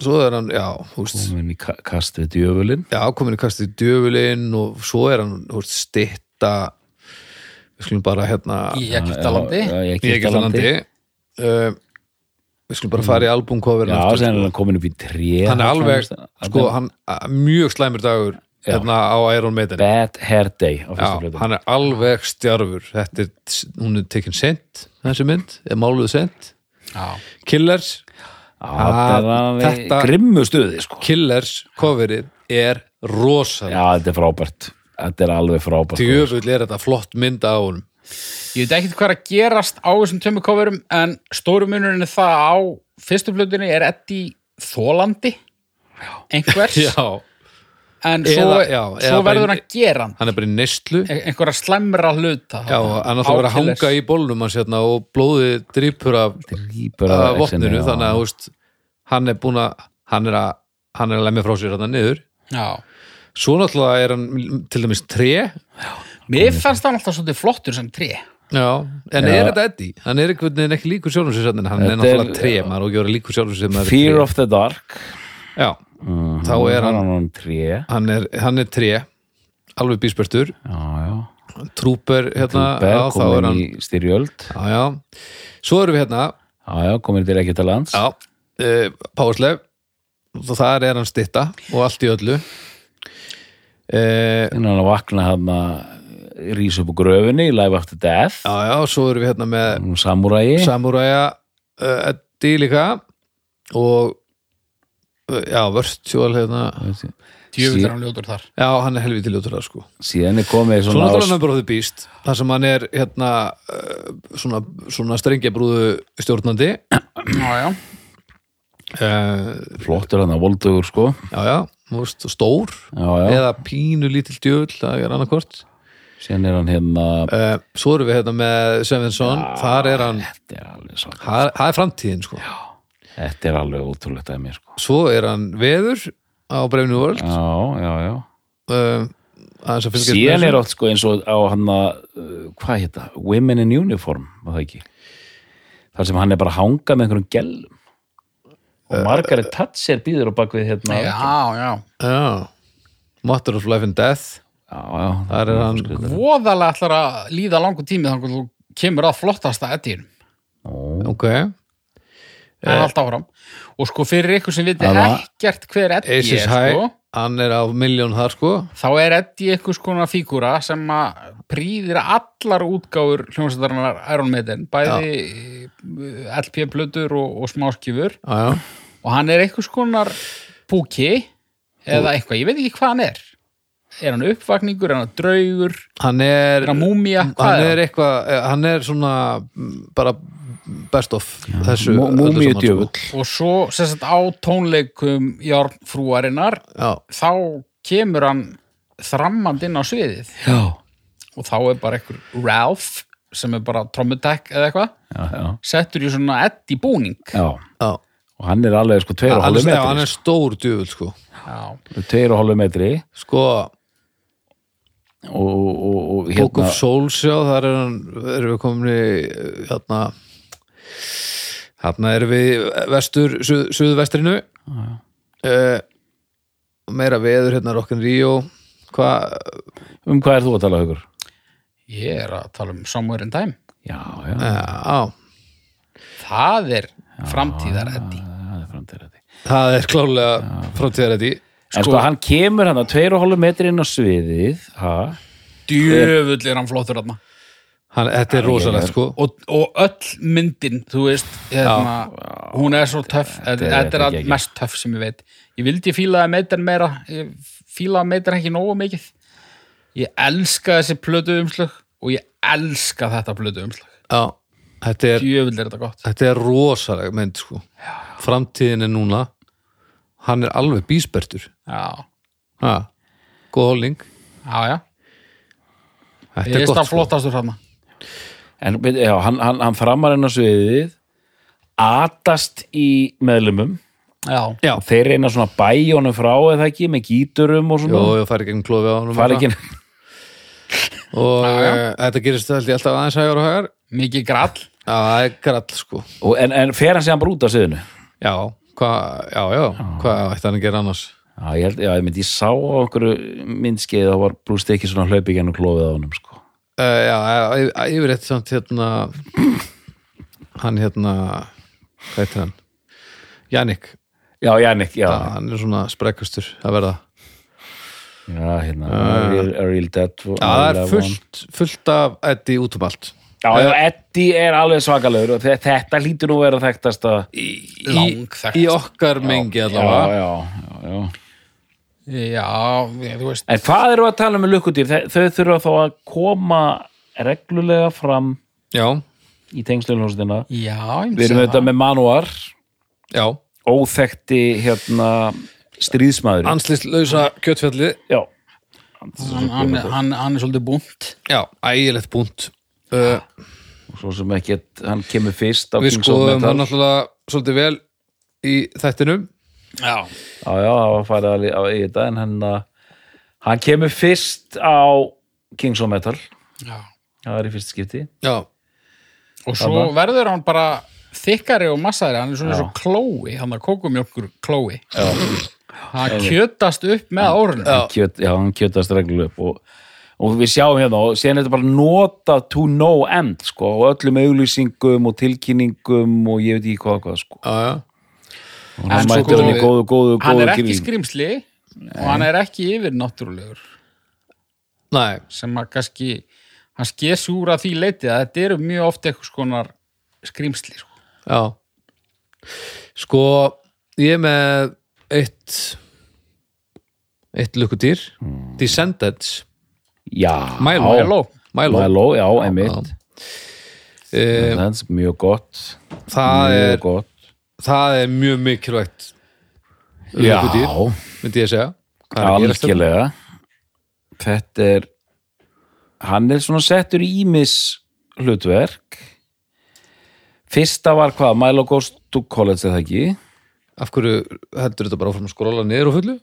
svo er hann, já, þú veist
komin í ka kast við djöfulinn
já, komin í kastið djöfulinn og svo er hann, þú veist, stitta við skulum bara hérna
í Egiptalandi
Já, já,
í Egiltalandi uh, við skulum bara fara í albumcoverin
Já,
aftur,
sem er
sko.
hann komin upp í tré
hann Mm. er alveg,
fannst-
sko, hann a- mjög slæmur dagur hérna á Iron Maiden
Bad Hair Day á fyrstu
já,
plötu
hann er alveg stjarfur þetta er, hún er tekin sent þessi mynd, er máluð sent
já.
Killers,
Þetta
þetta-
Grimmu stuði, sko
Killers coverið er rosalega,
Já, þetta er frábært Þetta er alveg frábært sko.
djöfull er þetta flott mynd á honum
Ég veit ekkert hvað er að gerast á þessum tömmu coverum en stóru munurinn er það á fyrstu plötunni er Eddie Þólandi einhvers
já,
en
Eða-
svo,
já,
svo
eða bara-
verður hann geran e-
hann er bara í neistlu
einhverja slæmra hluta
Já, hann átti að vera að
Ákillers.
hanga í bólnum hans hérna og blóðið drýpur af,
Drípur
af
af
vopninu,
exinu, já.
þannig að þú veist, hann er búin að hann er að, hann er að lemja frá sér hérna niður.
Já.
Svo náttúrulega er hann til dæmis tré Já,
Mér fannst hann alltaf svolítið flottur sem tré
en er þetta Eddie? Hann er einhvern veginn ekki líkur sjálfum sér hérna, hann
Þetta
er
er-
náttúrulega tré, maður og gjóra líkur sjálfum sér maður er
Fear
tré.
of the Dark
já, þá er hann
hann tré já,
hann er, hann er tré alveg bíspertur,
já,
trúper hérna,
Berg
já, þá er
komin
hann
í styrjöld
já, já, svo erum við hérna
já, já, komin til ekkert að lands
já, uh, Pásleif og þar er hann stitta og allt í öllu uh,
en hann að vakna hann að rís upp úr gröfinni í Life After Death
já, já, svo erum við hérna með
um samúræi
Samuræja uh, Eddi líka og uh, já, vörstjól hérna
Djöfull er hann ljótur þar.
já, hann er helviti ljótur það sko
síðan er komið
svo
svona,
náttúrulega number of the beast þar sem hann er hérna uh, svona, svona strengjabrúðu stjórnandi
Já, já.
uh,
á flottur hann að voldugur sko
já, já, þú veist, stór
já, já,
eða pínu lítil djöfull, það er annarkvort
síðan er hann hérna
uh, svo erum við hérna með Svensson þar er hann,
þetta er alveg svo
það það er framtíðin sko
þetta er alveg ótrúlegt að mér sko
svo er hann veður á Brefni World uh,
já, já, já
aðeins að fylgjast með
síðan
þessu.
er oft sko eins og á hann að uh, hvað heita, Women in Uniform var það ekki þar sem hann er bara að hanga með einhverjum gellum
Eh,
og Margaret Thatcher býður á bakvið hérna
Já, já.
Já, Matter of Life and Death
já, já,
Þar er hann
Voðalega ætlar að líða langu tími þannig að þú kemur að flottasta eddir.
Ó,
Ok,
Það
Eh.
er allt áfram. Og sko fyrir ykkur sem viti
Það var-
ekkert hver eddi
Aces
er,
High
sko,
Hann er á miljón þar sko
þá er eddi ykkur skona fígúra sem að prýðir allar útgáfur hljómsættarinnar Iron Maiden, bæði eh, LP-plötur og, og smáskjöfur.
Já, já,
og hann er einhvers konar púki eða eitthvað, ég veit ekki hvað hann er er hann uppvakningur, er hann draugur
hann er
er hann múmía, hvað
Hann
er
er
hann?
eitthvað, eh, hann er svona mm, bara best of þessu
Mú-
öllu
múmíu
saman,
djöfull.
sko.
og svo sem sagt á tónleikum járnfrúarinnar
Já,
þá kemur hann þrammand inn á sviðið
já,
og þá er bara einhver Ralph sem er bara trommutek eða eitthvað
já, já,
settur í svona eddi búning
já
já
og hann er alveg sko tveir og
Hann er,
hálfu
já, hann
metri
er stór djöfull sko
Já.
sko, tveir og hálfu metri
Sko,
og, og, og
Book
hérna
of Souls já, þar er hann, erum við komin í eh, hérna Þarna erum við vestur, suð, suðvestrinu uh, meira veður hérna Rokkin Ríó hvað,
um hvað er þú að tala hugur?
ég er að tala um Somewhere in Time
já, já,
eh, á,
það er framtíðar eddi
það er framtíðar þetta
það er klálega framtíðar þetta í
en sko hann kemur hann að tveir og hálfu metri inn á sviðið ha?
djöfull er hann flottur þarna
Hann- þetta er rosalegt sko
og, og öll myndin þú veist, hérna, hún er svo töff þetta
er
þetta er
ekki
að
ekki.
mest töff sem ég veit ég vildi fílaði meitar meira ég fílaði meitar ekki nógu mikið ég elska þessi plötu umslög og ég elska þetta plötu umslög
já, þetta er,
djöfull er þetta gott
þetta er rosaleg mynd sko framtíðin er núna hann er alveg bíspertur
já,
ha, góð holning
já, já,
þetta
ég
er
veist
gott
það
sko
flottastur þarna
En veit- já, hann, hann, hann framar hennar sviðið atast í meðlumum
já,
já,
og þeir reyna svona að bæja honum frá eða ekki með gíturum og
Jó,
svona
ég fari gegn klófi á honum
fara ekki
og eh, þetta gerist held ég alltaf aðeins hægur og hægur já,
mikið grall
það er grall sko
og, en, en fer hann séðan bara út af sviðinu
já, hvað, já, já, hvað ætti hann að gera annars
já, ég, held, já, ég myndi, ég sá á einhverju myndskeið þá var brúst ekki svona hlaupi gennum klófið á honum sko.
Uh, já, eh, eh, yfir eitt samt hérna hann hérna hvað heitir hann? Jannik,
já, Jannik, já,
ah, hann er svona sprekkustur að verða.
já hérna, a real, a real dead
Já, það er fullt, fullt af eddi út um allt.
já, já, Eddie er alveg svakalögur og þe- þetta hlýtur nú að vera þekktast að
Langþekktast.
Í, í okkar mengi
já,
allavega.
já, já, já
já, þú veist
En hvað eru að tala um með lukkudýr? Þe- Þau þurfa þá að koma reglulega fram
Já,
í tengslunljónstina.
já, ég
Við erum
myndi
auðvitað með manuar,
já.
óþekti hérna stríðsmaður.
Anslýslausa kjötfjallið.
Já,
hann, hann, hann, hann er svolítið búnt
Já, ægilegt búnt. Uh,
svo sem ekki hann kemur fyrst á
við
Kings of
skoðum hann
Metal.
náttúrulega svolítið vel í þættinum.
já,
Já, já, það var farið að li- á í þetta en hann, uh, hann kemur fyrst á Kings of Metal.
já
Það er í fyrst skipti.
Já,
og svo verður hann bara þykkari og massari, hann er svona eins og klói, hann er kókumjólkur klói. Já. Það kjötast upp með árunum.
kjöt, já, hann kjötast reglulega upp og, og við sjáum hérna og síðan er þetta bara nota to no end sko, og öllum auglýsingum og tilkynningum og ég veit ekki hvað og hvað sko.
já, já.
og hann
svo
mættur
góður-
henni góðu, góðu,
Hann er
góðu
ekki
kýrling
skrimsli og hann er ekki yfir náttúrulegur
Nei,
sem að kannski, hann sker súra því leiti að þetta eru mjög oft eitthvað skonar skrimsli. Sko.
já Sko, ég er með eitt eitt lukkudýr
Hmm.
Descendants,
já,
Milo Milo,
Milo, já, einmitt
Eh,
það er mjög gott
það,
mjög
er,
gott
það er mjög mikilvægt
Já,
lukkudýr, myndi ég að segja Hvað er að gerast þarna?
algjörlega Þetta er hann er svona settur í ímis hlutverk Fyrsta var hvað, Milo Goes to College eða ekki
Af hverju heldur þetta bara áfram að skróla niður og fullu?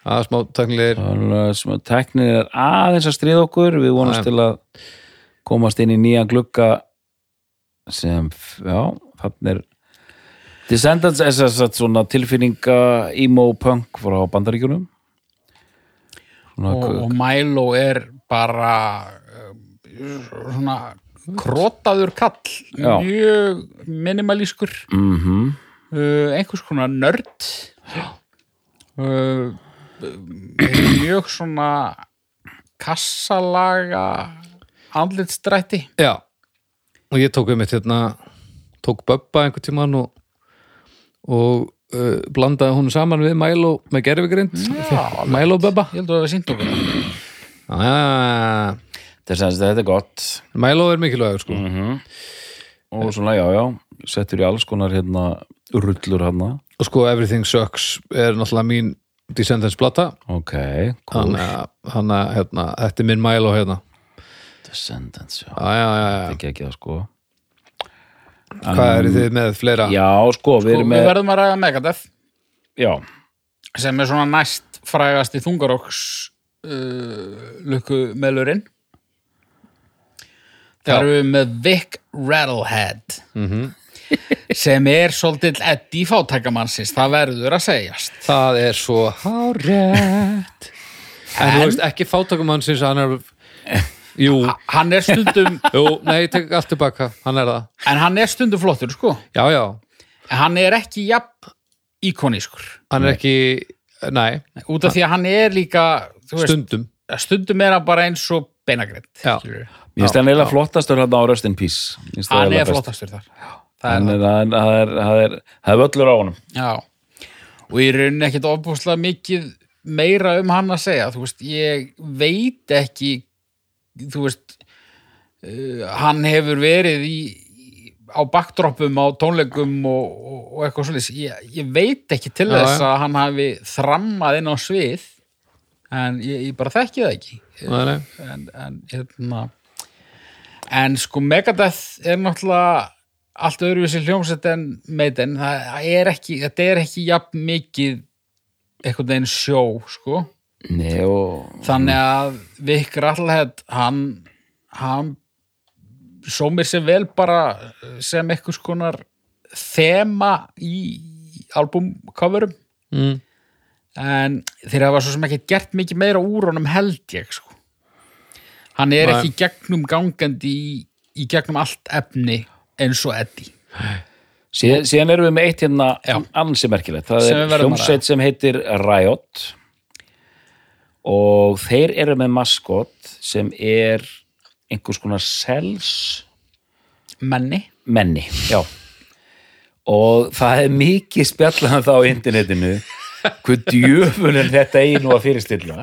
Það er smá tæknilegir
Alveg sem að Tæknið er aðeins að stríða okkur við vonumst
Já.
til að komast inn í nýjan glugga sem, já, þannig er Descendants er þess að svona tilfinninga emo-punk frá bandaríkjunum Svona
og, og Milo er bara um, svona krotaður kall
Já.
mjög minimalískur
mm
uh, einhvers konar nörd uh, mjög svona kassalaga andlitstrætti
Já, og ég tók einmitt hérna tók Böbba einhvern tímann og, og uh, blandaði hún saman við Milo með gerfigrind Milo Böbba
ég held að það var sínt okkur
ah,
Descendants, þetta er gott
Milo er mikilvægur sko
og svona, já, já, settur í alls konar hérna, rullur hérna
og sko Everything Sucks er náttúrulega mín Descendants blata
ok, cool
þannig að- þannig að hérna, þetta er minn Milo hérna
Descendants, já,
ah, já, já, já.
ekki ekki það sko
Hvað eru þið með fleira?
já, sko, við
og
erum
við
með
verðum að ræða Megadeth
já,
sem er svona næst frægasti þungaróks uh, lukkumelurinn þar eru við með Vic Rattlehead sem er svolítill Eddie fátækamannsins, það verður að segjast
Það er svo hárétt En þú veist ekki fátökum hans eins og hann er Jú,
hann er stundum
jú, nei, ég tek allt tilbaka Hann er það,
en hann er stundum flottur sko
já, já
en hann er ekki jafn íkonískur
Hann er ekki, nei,
út af því að hann er líka þú veist,
stundum
stundum er hann bara eins og beinagrind
Já.
ég finnst hann eiginlega flottastur hérna á Röst in Peace Mér finnst það
hann er
eiginlega best.
flottastur þar það er
hann er, hann, það er, það er, það er völlur á honum
Já, og ég raunin ekkert ofbúslega mikið meira um hann að segja, þú veist, ég veit ekki, þú veist, uh, hann hefur verið í, í- á backdropum, á tónleikum og, og, og eitthvað svolítið, ég, ég veit ekki til
Já,
þess
já.
að hann hafi þrammað inn á svið, en ég, ég bara þekki það ekki,
nei, nei.
en, en hérna, en sko Megadeth er náttúrulega allt öðruvísi hljómsett en Maiden það það er ekki, þetta er ekki jafn mikið einhvern veginn sjó sko,
Nei, og,
þannig að Vic Rattlehead, hann hann sómir sér vel bara eh, sem einhvers konar þema í albumcoverum
Mm.
en þeir hafa svo sem ekki gert mikið meira úr honum held ég sko. hann er
Nei.
ekki gegnum gangandi í, í gegnum allt efni eins og Eddie
síðan, síðan erum við með eitt hérna
Já.
ansi merkilegt, það
Sem við
er
verðum að
hljómsveit sem heitir Riot og þeir eru með maskot sem er einhvers konar sels
menni
menni, já og það er mikið spjallaðan þá á internetinu hvað djöfunin þetta eigi nú að fyrirstilla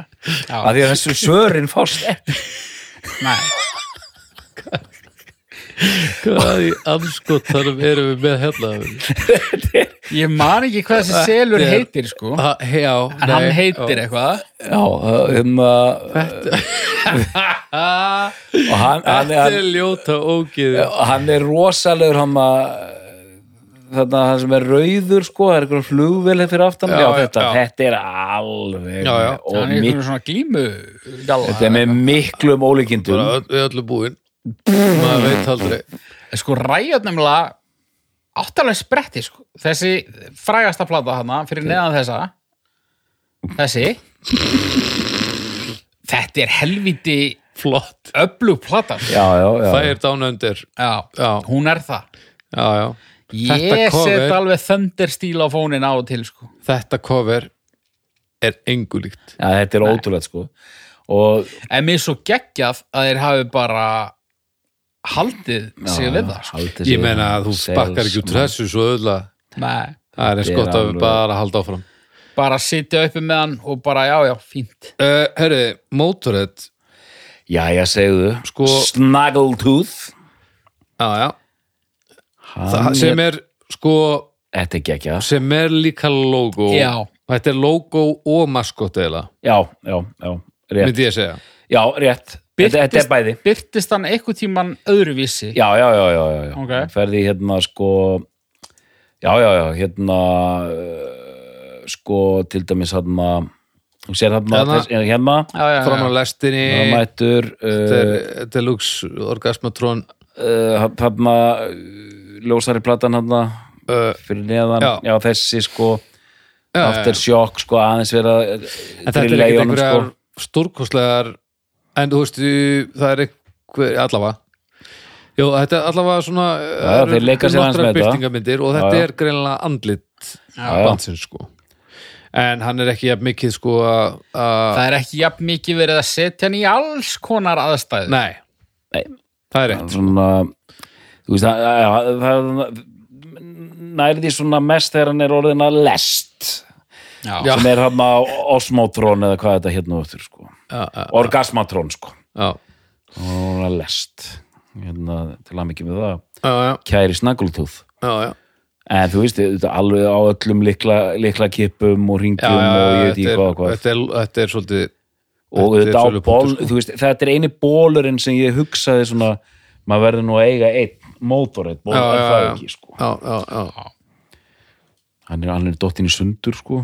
Já.
að því að þessu svörin fást ekki
Nei.
Hvað í anskotanum erum við með hérna?
ég man ekki hvað þessi selur
er-
heitir sko. en
Ha- Já, nei,
hann heitir eitthvað
já, um að og hann, hann,
Þetta
hann,
er ljóta ógið
hann er rosalegur hann að þarna hann sem er rauður sko, það er eitthvað flugvelið fyrir aftan já,
Já, já,
þetta,
já.
þetta er alveg
Já, já.
og
hann er
mik-
einhvern svona glímu
þetta er með miklum ólíkindum
Við öllu búin Maður veit aldrei
En sko ræjot nefnilega áttalega spretti sko. þessi frægasta plata hana fyrir neðan þessa þessi þetta er helviti
flott
öflug plata sko. já.
já, já, já.
það er dánöndir Já.
hún er það
já, já. Þetta,
ég set
cover,
alveg þönderstíl á fónin á og til sko.
þetta cover er engu líkt
Já, þetta er ótrúlega sko og
en mér er svo geggjað að þeir hafi bara haldið sig við það sko.
haldið sig
ég
við
meina
það.
að þú
Sales
bakkar ekki út úr
man.
þessu svo öðla
Nei,
það er eins
Þetta er
gott að
alveg-
við bara halda áfram
bara sitja uppi með hann og bara já já, fínt
uh, herri, Motorhead
já, já, segðu
Sko-
Snaggletooth
já, já.
Hann
Það, sem er sko
þetta er gekkja
sem er líka logo
Já.
þetta er logo og maskot eða,
já, já, já, rétt
myndi ég segja
já, rétt, þetta, þetta er bæði
byrtist hann eitthvað tíman öðruvísi
já, já, já, já, já, já.
Ok.
ferði hérna sko já, já, já, hérna uh, sko til dæmis hérna þú sér hérna,
Hérna.
þess, hérna
já, já,
fram á
já.
lestinni
það mættur uh,
þetta er- þetta er lúks orgasmatron
uh, hérna eh, ljósari platan hérna
uh,
fyrir neðan, já,
Já.
þessi sko
já,
after shock sko aðeins vera
en þetta er
drilla í
ekkert
honum, sko.
einhverjar stórkostlegar en þú veistu, það er einhver allavega Jó, þetta er allavega svona
Já, þeir leika sér aðeins með þetta.
byrtingamyndir og þetta
Já, já.
er greinlega andlit
já.
bandsins sko en hann er ekki jafn mikið sko að- að,
Það er ekki jafn mikið verið að setja hann í alls konar aðstæðu.
nei,
Nei.
það er rétt
svona þú veist að, að, að, að næri því svona mest þegar hann er orðin að lest
Já.
Já.
sem er hann á osmótrón eða hvað þetta hérna öttur sko
já, já,
orgasmatrón sko
já,
og hún er að lest hérna, til að mikið með það
já, já,
kæri snaggletooth
já, já.
en þú veist þetta er alveg á öllum likla, likla kippum og
Já,
ringjum
já,
og ég
já,
veit
þetta
ekki
er-
hvað og hvað
þetta er- þetta er svolítið
og
þetta er
þetta á
sölupunktur, sko.
ból, þú veist, þetta er eini bólurinn sem ég hugsaði svona maður verður nú að eiga einn mótorið, ból
Já,
er
já,
það
já.
ekki sko.
já, já, já,
hann er, hann er dottinn í sundur sko.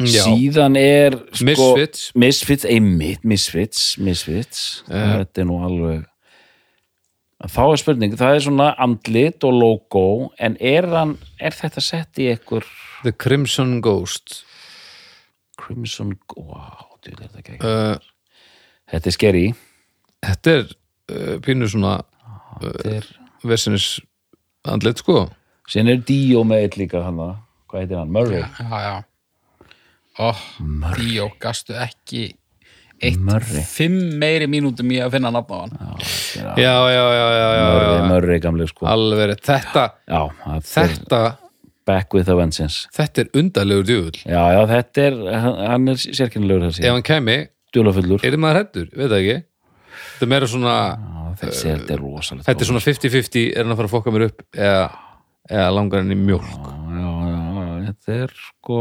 já.
síðan er sko,
Misfits.
misfits, einmitt, misfits, misfits. þetta er nú alveg þá er spurning, það er svona andlit og logo, en er, hann, er þetta sett í ekkur
The Crimson Ghost
Crimson, wow, djú, þetta, er ekki,
uh,
þetta er skeri
þetta er uh, pínu svona
þetta er
vesinis andlit sko
Sen er Díó með eitt líka hann Hvað heitir hann? Murray?
já, já. Ó, Díó, gastu ekki eitt
Murray.
fimm meiri mínútum í að finna nafn á hann.
já, já, já, já, já, já.
Murray, Murray gamli sko
alveg rétt. þetta,
Já, þetta er
þetta
back with the vengeance
þetta er undarlegur djúvul
Já, já, þetta er, hann hann er sérkennilegur
ef
þessi,
hann kæmi,
dulafullur
er maður hættur veit það ekki, þetta er meira svona
Þessi, þetta er rosalegt
þetta er svona 50-50, er hann að fara að fokka mér upp eða, eða langar hann í mjólk
Já, já, já, þetta er sko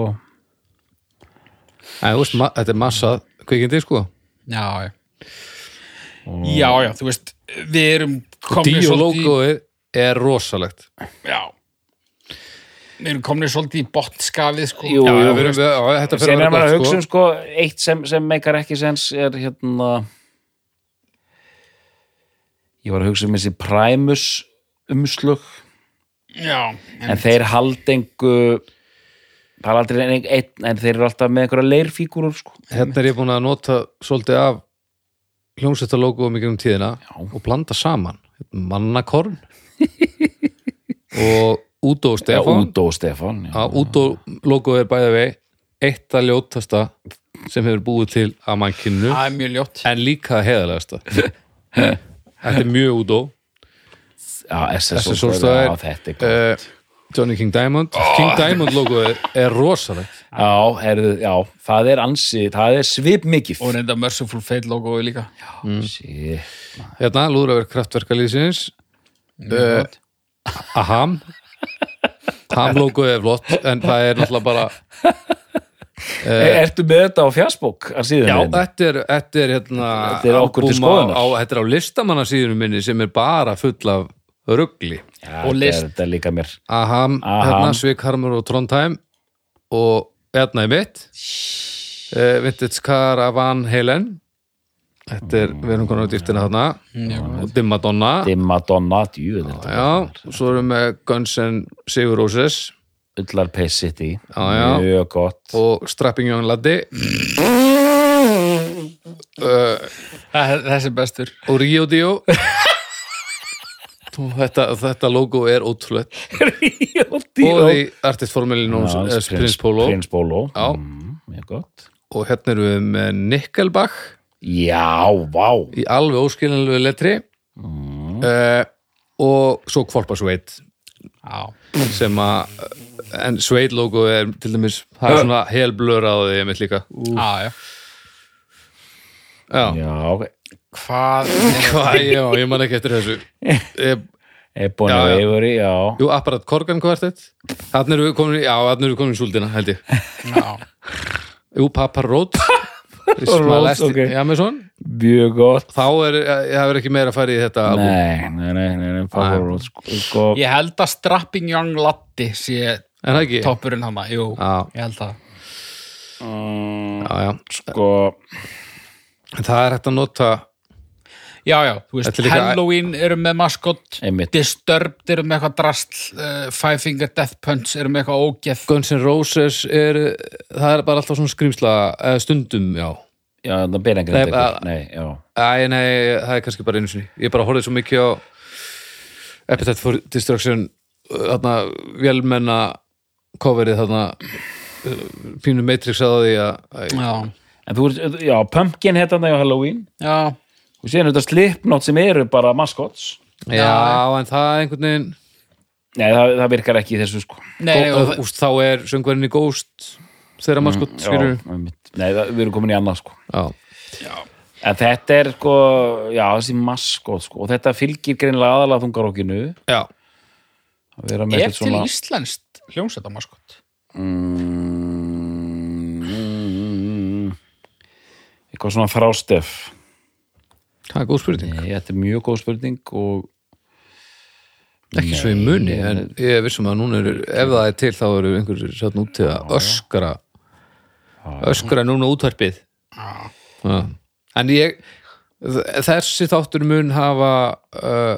en þú veist, ma- þetta er massað kvikindi sko
Já, já. Já, já, þú veist, við erum komnir
Díu
svolítið... í-
logoið er rosalegt
Já. Við erum komnir svolítið í botnskafið, sko.
Jú,
já,
jú,
já, við erum, já, þetta fyrir
Sen er
að
maður
vera
að
gott
hugsa um
sko
sko Eitt sem, sem meikar ekki sens er hérna Ég var að hugsa um þessi Primus umslög
Já, en,
en þeir haldengu það er aldrei einn, einn en þeir eru alltaf með einhverja leirfígúrur sko.
hérna er ég búin að nota svolítið af hljómsveitalógum í gegnum tíðina og blanda saman Hérna, mannakorn og Udo og
Já,
Stefán
Údó og Stefán já.
Já, Udo logo er bæða vei eitt að ljótasta sem hefur búið til að mannkynnu
það er mjög ljótt.
en líka heðalegasta þetta er mjög Udo
já SSO
SSO
stöðar,
stöðar.
já, þetta er gott.
uh, Johnny King Diamond King Diamond logo er, er rosalegt
já, heyrðu, já, það er ansi það er svip mikið
Og reynda Merciful Fate logoið líka. Já,
hérna, lúðraverk kraftverkalýsins
mjög ljótt.
Aham Ham logoið er flott en það er náttúrulega bara
Eh, Ertu með þetta á fjarsbók?
Eh, já, eh, þetta er, þetta er hérna
Þetta er okkur
albúm
til
á-
skoðunar.
á, Þetta er á listamannasíðunum minni sem er bara full af ruggli
og
og
list
list.
Þetta er líka mér
Aham,
Aham.
hérna Svikharmur og Trondheim Eh, og hérna er mitt uh, Vintage Car Van Helen Þetta er, við erum konar á dýftina þarna og Dimmadonna
Dimma Donna, djú, þetta
Já, og svo erum við með Guns N' Sigur Róses
Ullar Pay City,
Já, já.
mjög gott
og Strapping Young Laddi
Þessi bestur
og Rio Dio Þú, þetta, þetta logo er ótrúlegt og
Ríódíó
því artist formúlin Prins, Prins Polo
Prins Polo,
Já.
Mm, mjög gott
og hérna erum við með Nickelback
Já, vá,
í alveg óskilinlegu letri mm. og svo Kvolparsveit
Já
sem að en Sveit logo er til dæmis það er svona helblur á því einmitt líka
Já, já.
já,
já, ok
Hvað
Hva, já ég man ekki eftir þessu Eh,
Ebony
Já, já.
Ivory, já
Jú, apparat Korgan kvartett þannig erum við komin í, já, þannig erum við komin í súldina held ég,
Já,
jú, Papa Road
Road, ok.
okay. Amazon
Mjög gott
þá er, eh, ég hefur ekki meira að fara í þetta albúm.
Nei, nei, nei, nei, nei Power Road sko, sko,
Ég held að Strapping Young Latti sé
en það ekki
toppurinn hana, jú,
Já.
ég held að
já, já.
sko
En það er hægt að nota
Já, já, þú veist,
Þetta er líka-
Halloween eru með maskott
Einmitt.
Disturbed eru með eitthvað drastl uh, Five Finger Death Punch eru með eitthvað ógeð
Guns N' Roses er, það er bara alltaf svona skrýmsla eh, stundum, já
Já, það byrja
Nei,
enginn
bara-
Nei, já
Æ, nei, það er kannski bara einu sinni Ég bara horfði svo mikið á Appetite for Destruction uh, þarna, vélmenna coverið þarna uh, pínu Matrix að því að að-
Já,
En þú ert, já, Pumpkin hétt hann á Halloween
já,
og síðan þetta Slipknot sem eru bara maskots
Já, en það einhvern veginn
Nei, það, það virkar ekki í þessu sko
nei, nei og,
og, úst, þá er söngverinn í Ghost þeirra maður sko,
Já,
skilur
einmitt. Nei, það, við erum komin í annað sko
Já,
En þetta er sko, já, þessi maskot sko og þetta fylgir greinlega aðalega þungarokkinu
já,
að vera með
er
eitthvað
til
svona
íslenskt hljómsæta maskott
Mm, eitthvað svona frástef
það er góð spurning
Nei, þetta er mjög góð spurning og
Ekki svo í muni, en ég er vissum að núna eru, ef það er til þá eru einhverjir satt úti að öskra öskra núna útvarpið Já. En ég þessi þáttur mun hafa uh,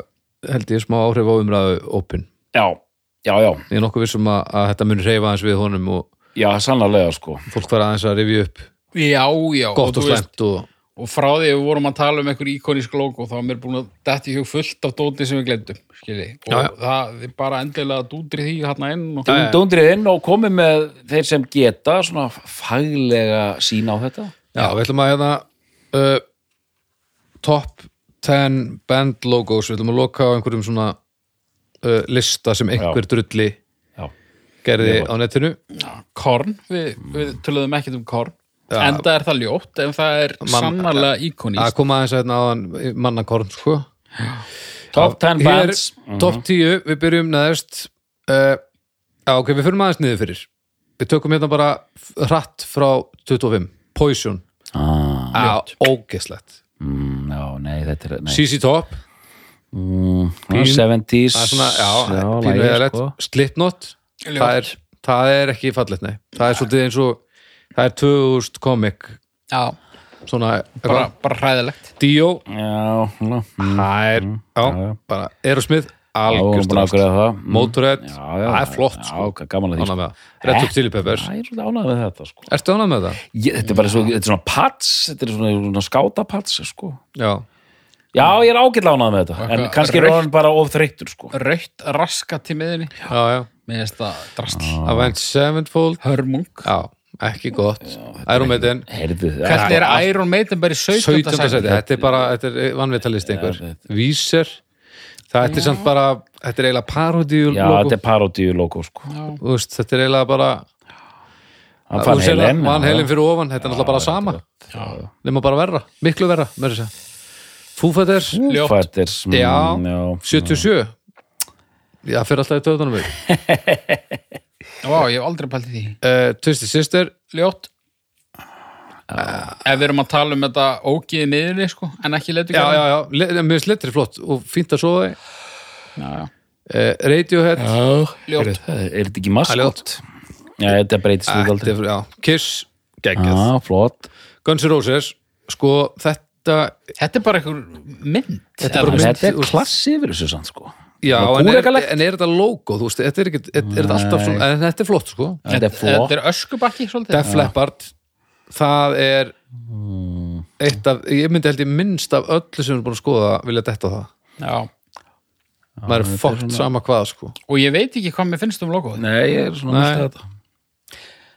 held ég smá áhrif á umræðu opin.
já, já, já,
Ég er nokkuð vissum að, að þetta mun reyfa aðeins við honum og
já, sannarlega sko
fólk var aðeins að rifja upp
Já, já
gott og
þú veist,
slæmt og
og frá því að við vorum að tala um einhver íkonísk logo þá er mér búin að detti hjá fullt af dóti sem við glemdum skilji, og
Já, já.
það er bara endilega dúndri því hérna inn og...
Já, já.
Dóndrið inn og komið með þeir sem geta svona faglega sína á þetta
Já, við ætlum að hérna uh, top 10 band logos, við ætlum að loka á einhverjum svona uh, lista sem einhver drulli
Já,
gerði á netinu
korn, við, við töluðum ekkert um korn
Já.
enda er það ljótt en það er
Man-
sannarlega
að
íkonísk
koma aðeins að hérna áðan mannakorn sko.
top 10
Hér,
bands
top 10, við byrjum neðst uh, Já, ok, við fyrir aðeins niður fyrir Við tökum hérna bara hratt frá 25, Poison
ah,
Já, ógeðslegt
mm, Já, nei, þetta er nei.
CC Top,
Mm,
Pín-
70s
það er svona, já,
lagið,
pínu eðalett
sko.
Slipknot, það er, það er ekki fallegt, nei Það er svolítið eins og, það er 2000 komik
já,
Svona,
bara,
eitthvað.
bara hræðilegt
Dio,
Já, svona
það er,
Mm, já,
já,
já.
bara Aerosmith,
Já, við vorum
algjörst
búin að
drasl.
ákveða það Mm.
Motorhead,
Já, já,
það er flott
Já,
sko.
ok, gaman að því
Ánægð
sko.
með það. Red Hot Chili Peppers
Það er svolítið ánægð með þetta sko.
Ertu ánægð með það?
ég, Þetta er bara svo, þetta er svona pats Þetta er svona, svona skátapats sko.
Já,
Já, ég er ágætlega ánægð með þetta En
Eitthvað
kannski er
rautt.
orðin bara of þreyttur sko.
rautt raskat í miðinni
já, já
með þetta drastl
Avenged Sevenfold
hörmung
Já, ekki gott Iron Maiden
Heyrðu,
Hvert er
já,
Iron Maiden bara í 17.
17. seti,
sæti?
þetta er bara þetta er vanvitalist einhver Víser, það er samt bara þetta er eiginlega parodíu
Já, þetta er parodíu logo sko.
Úst, þetta er eiginlega bara
Hann fann
Þú sér það,
heilin
Van
já,
Halen
já.
fyrir ofan, þetta er náttúrulega bara sama
Já.
nema bara verra, miklu verra meira að segja. Foo Fighters
Ljótt.
Fighters, mm,
Já.
já
77 Já, fyrir alltaf í töðunum við
Vá, ég hef aldrei pælt í því
uh, Twisted Sister
ljótt ef við erum að tala um þetta ógiði miðinni sko, en ekki letu
Já, já, já, Le- mér finnst letri flott og fínt að sofa því
já,
uh, Radiohead
ljótt
Er er þetta ekki
Það er
maskot?
ljótt.
Já, þetta breytist við aldrei Ah.
Þetta er- já, Kiss, geggjað
Já, flott
Guns N' Roses, sko þetta þetta
Þetta er bara einhver mynd.
Þetta er
eða
bara
þú
mynd.
veist.
þetta er klassi yfir þessu samt sko
já,
Og
en, er,
kúrekalegt.
en er þetta logo, þú veist, þetta er, ekki, er, er þetta alltaf svona, en þetta er flott sko
þetta er flott
Þetta er öskubakki svolítið.
Def Leppard það er
Hmm.
eitt af, ég myndi held ég minnst af öllu sem er búin að skoða vilja detta á það
Já.
maður er fótt sama hvað sko
Og ég veit ekki hvað mér finnst um logoð.
nei, ég er svona
Nei.
mistað þetta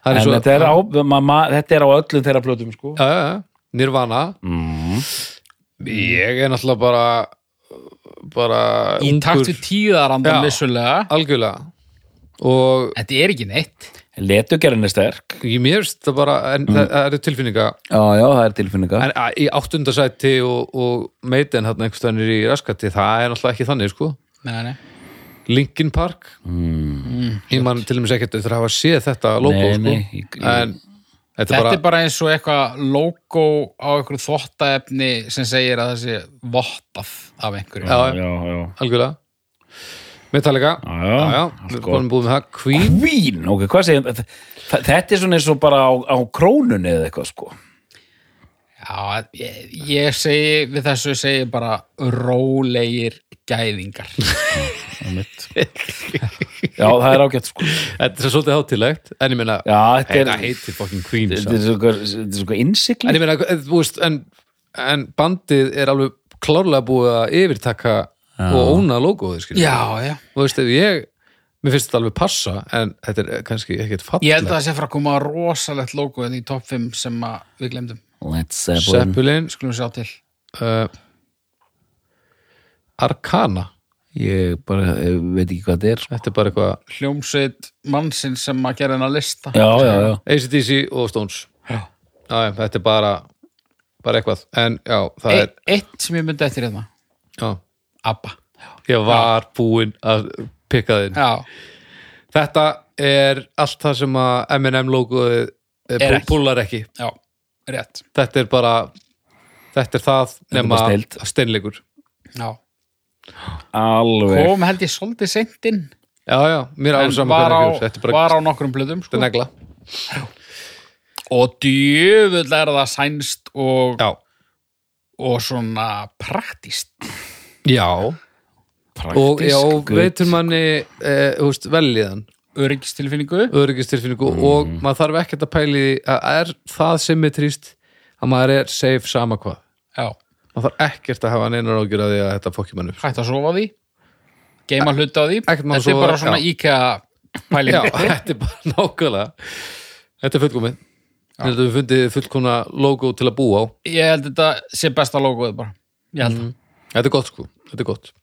það er
en
svo,
þetta er, á, ma, ma, þetta er á öllum þeirra plötum sko
já, já, já, Nirvana
Hmm.
ég er náttúrulega bara bara
Í takt við tíðarandan
Já.
vissulega.
algjörlega og
Þetta er ekki neitt.
letugerinn er sterk
ég mér finnst það bara, en
Mm.
það, það eru tilfinninga
já, já, það er tilfinninga
en a- í áttundasæti og, og meitin hann einhverstaðanir í raskati það er náttúrulega ekki þannig sko
Nei, nei.
Linkin Park ég man til dæmis ekkert eftir að hafa séð þetta logo
Mm. Nei,
sko.
nei, ég- ég-
en þetta,
Þetta
bara,
er bara eins og eitthvað logo á einhverju þvottaefni sem segir að það sé vottað af einhverju.
Já.
já, já,
algjörlega Metallica,
Já, já, allt
við
gott.
erum búin með það Queen,
Queen, ok, hvað segir þ- þ- þetta er svona eins og bara á, á krónunni eða eitthvað sko
Já, ég, ég segi, við þessu segi bara rólegir gæðingar.
já, það er ágætt sko
þetta er svolítið hátilegt en ég meina,
já, þetta er,
þetta heitir fucking Queen
þetta
samt.
er svo eitthvað- þetta er svo eitthvað
en
innsikling
ég meina, eh, þú veist en, en bandið er alveg klárlega búið að yfirtaka og óna logoði, skilja
Já, já.
þú veist, ef ég mér finnst þetta alveg passa, en þetta er kannski ekkert
Ég held að
fallegt
það sé frá að koma rosalegt logo en í topp 5 sem að við glemdum.
Led Zeppelin
Seppulin,
Skulum sjá til.
uh, Arkana
ég bara ég veit ekki hvað þetta er sko.
þetta er bara eitthvað
Hljómsveit mannsinn sem að gera hennar lista.
já, já, já,
ACDC og Stones
Já.
já, já, þetta er bara bara eitthvað, en já, það
E
er
eitt sem ég myndi eftir hérna.
já,
Abba.
ég var búinn að pikka þinn
Já,
þetta er allt það sem að M&M logoði
Er ekki.
púlar ekki,
já, rétt.
þetta er bara þetta er það
er
nema
bara snilld.
steinleikur
Já.
alveg
Kom held ég svolítið seint inn.
já, já, mér er
En
alveg saman
var á,
hvernig þetta er bara
var á nokkrum blöðum
þetta
sko.
er negla
og djöfull er það sænst og,
já,
og svona praktist
já og já, og
gutt.
veitur manni eh, þú veist, veljiðan,
öryggistilfinningu
öryggistilfinningu og maður þarf ekkert að pæli því að er það symmetrist að maður er safe sama hvað
já,
maður þarf ekkert að hafa neinar ágjur að því að þetta fokki mann upp
hægt að sofa á því geima hluti á því
ekkert má
þetta er
sofa,
bara svona
já.
íkja
já,
pæling
þetta er bara nákvæmlega þetta er fullkomið þetta er við fundið fullkomna logo til að búa á
ég held þetta sé besta logoð bara ég held það
þetta er gott sko, þetta er gott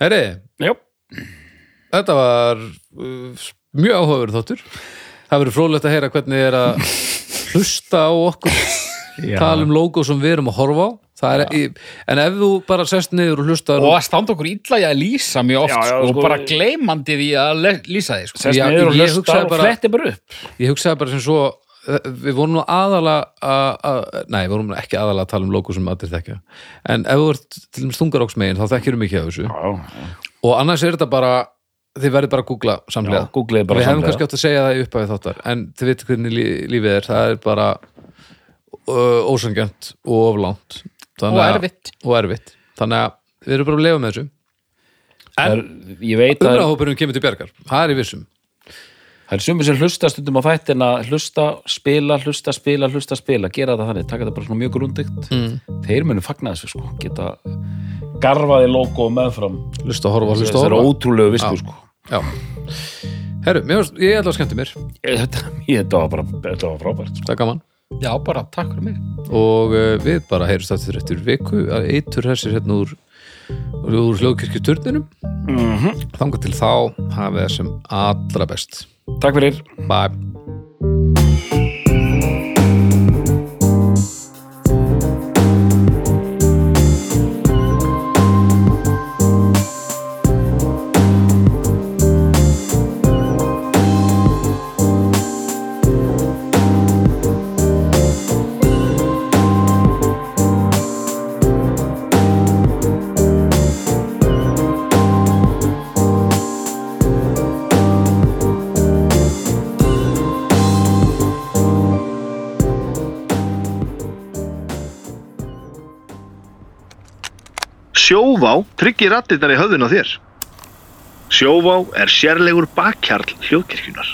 herri,
já,
þetta var uh, mjög áhugaverð þáttur það verður frólægt að heyra hvernig er að hlusta á okkur tala um logo sem við erum að horfa á Það er, en ef þú bara sest niður og hlustar
og að standa okkur illa ég að lýsa mjög oft
Já, já,
sko,
sko.
og bara gleymandi því að le- lýsa því sko.
sest
Já,
niður og
ég
hlusta
hugsaði
og
bara-
fletti bara upp
ég hugsaði bara sem svo eh, við vorum nú aðala að- að- nei, við vorum nú ekki aðala að tala um logo sem allir þekkja en ef þú ert til dæmis þungaróksmegin þá þekkjum við mikið af þessu
já,
og annars er þetta bara, þið verðið bara að googla samlega,
Já, googlið bara
við hefum
samhliða.
kannski átt að segja það í upphafi þáttar, en þið veit hvernig lí, lífið er, það er bara uh, ósangjönt og oflánt
Og erfitt.
og erfitt, þannig að við erum bara að lefa með þessu
Það er, ég veit að
umræðahópurum kemur til bjargar, það er í vissum
það er sumir sem hlusta stundum á þættin að hlusta, spila, hlusta, spila, hlusta, spila gera það þannig, taka þetta bara svona mjög grundigt mm. þeir munu fagna þessu sko geta garfaði logo meðfram
hlusta að horfa, hlusta
það
að
er
horfa
ótrúlegu visku sko
Já. Herru, mér, varst- ég ætla að skemmti mér,
Ég- þetta, ég, þetta var bara þetta var frábært sko.
það er gaman
já, bara takk fyrir mig
og uh, við bara heyrjumst aftur eftir viku að eitur hessir hérna úr úr hljóðkirkjuturninum mm
Mhm.
-hmm. þangar til þá hafið það sem allra best
sko. takk fyrir
Bye
Sjóvá tryggir rattirnar í höfðun á þér. Sjóvá er sérlegur bakkjarl hljóðkirkjunar.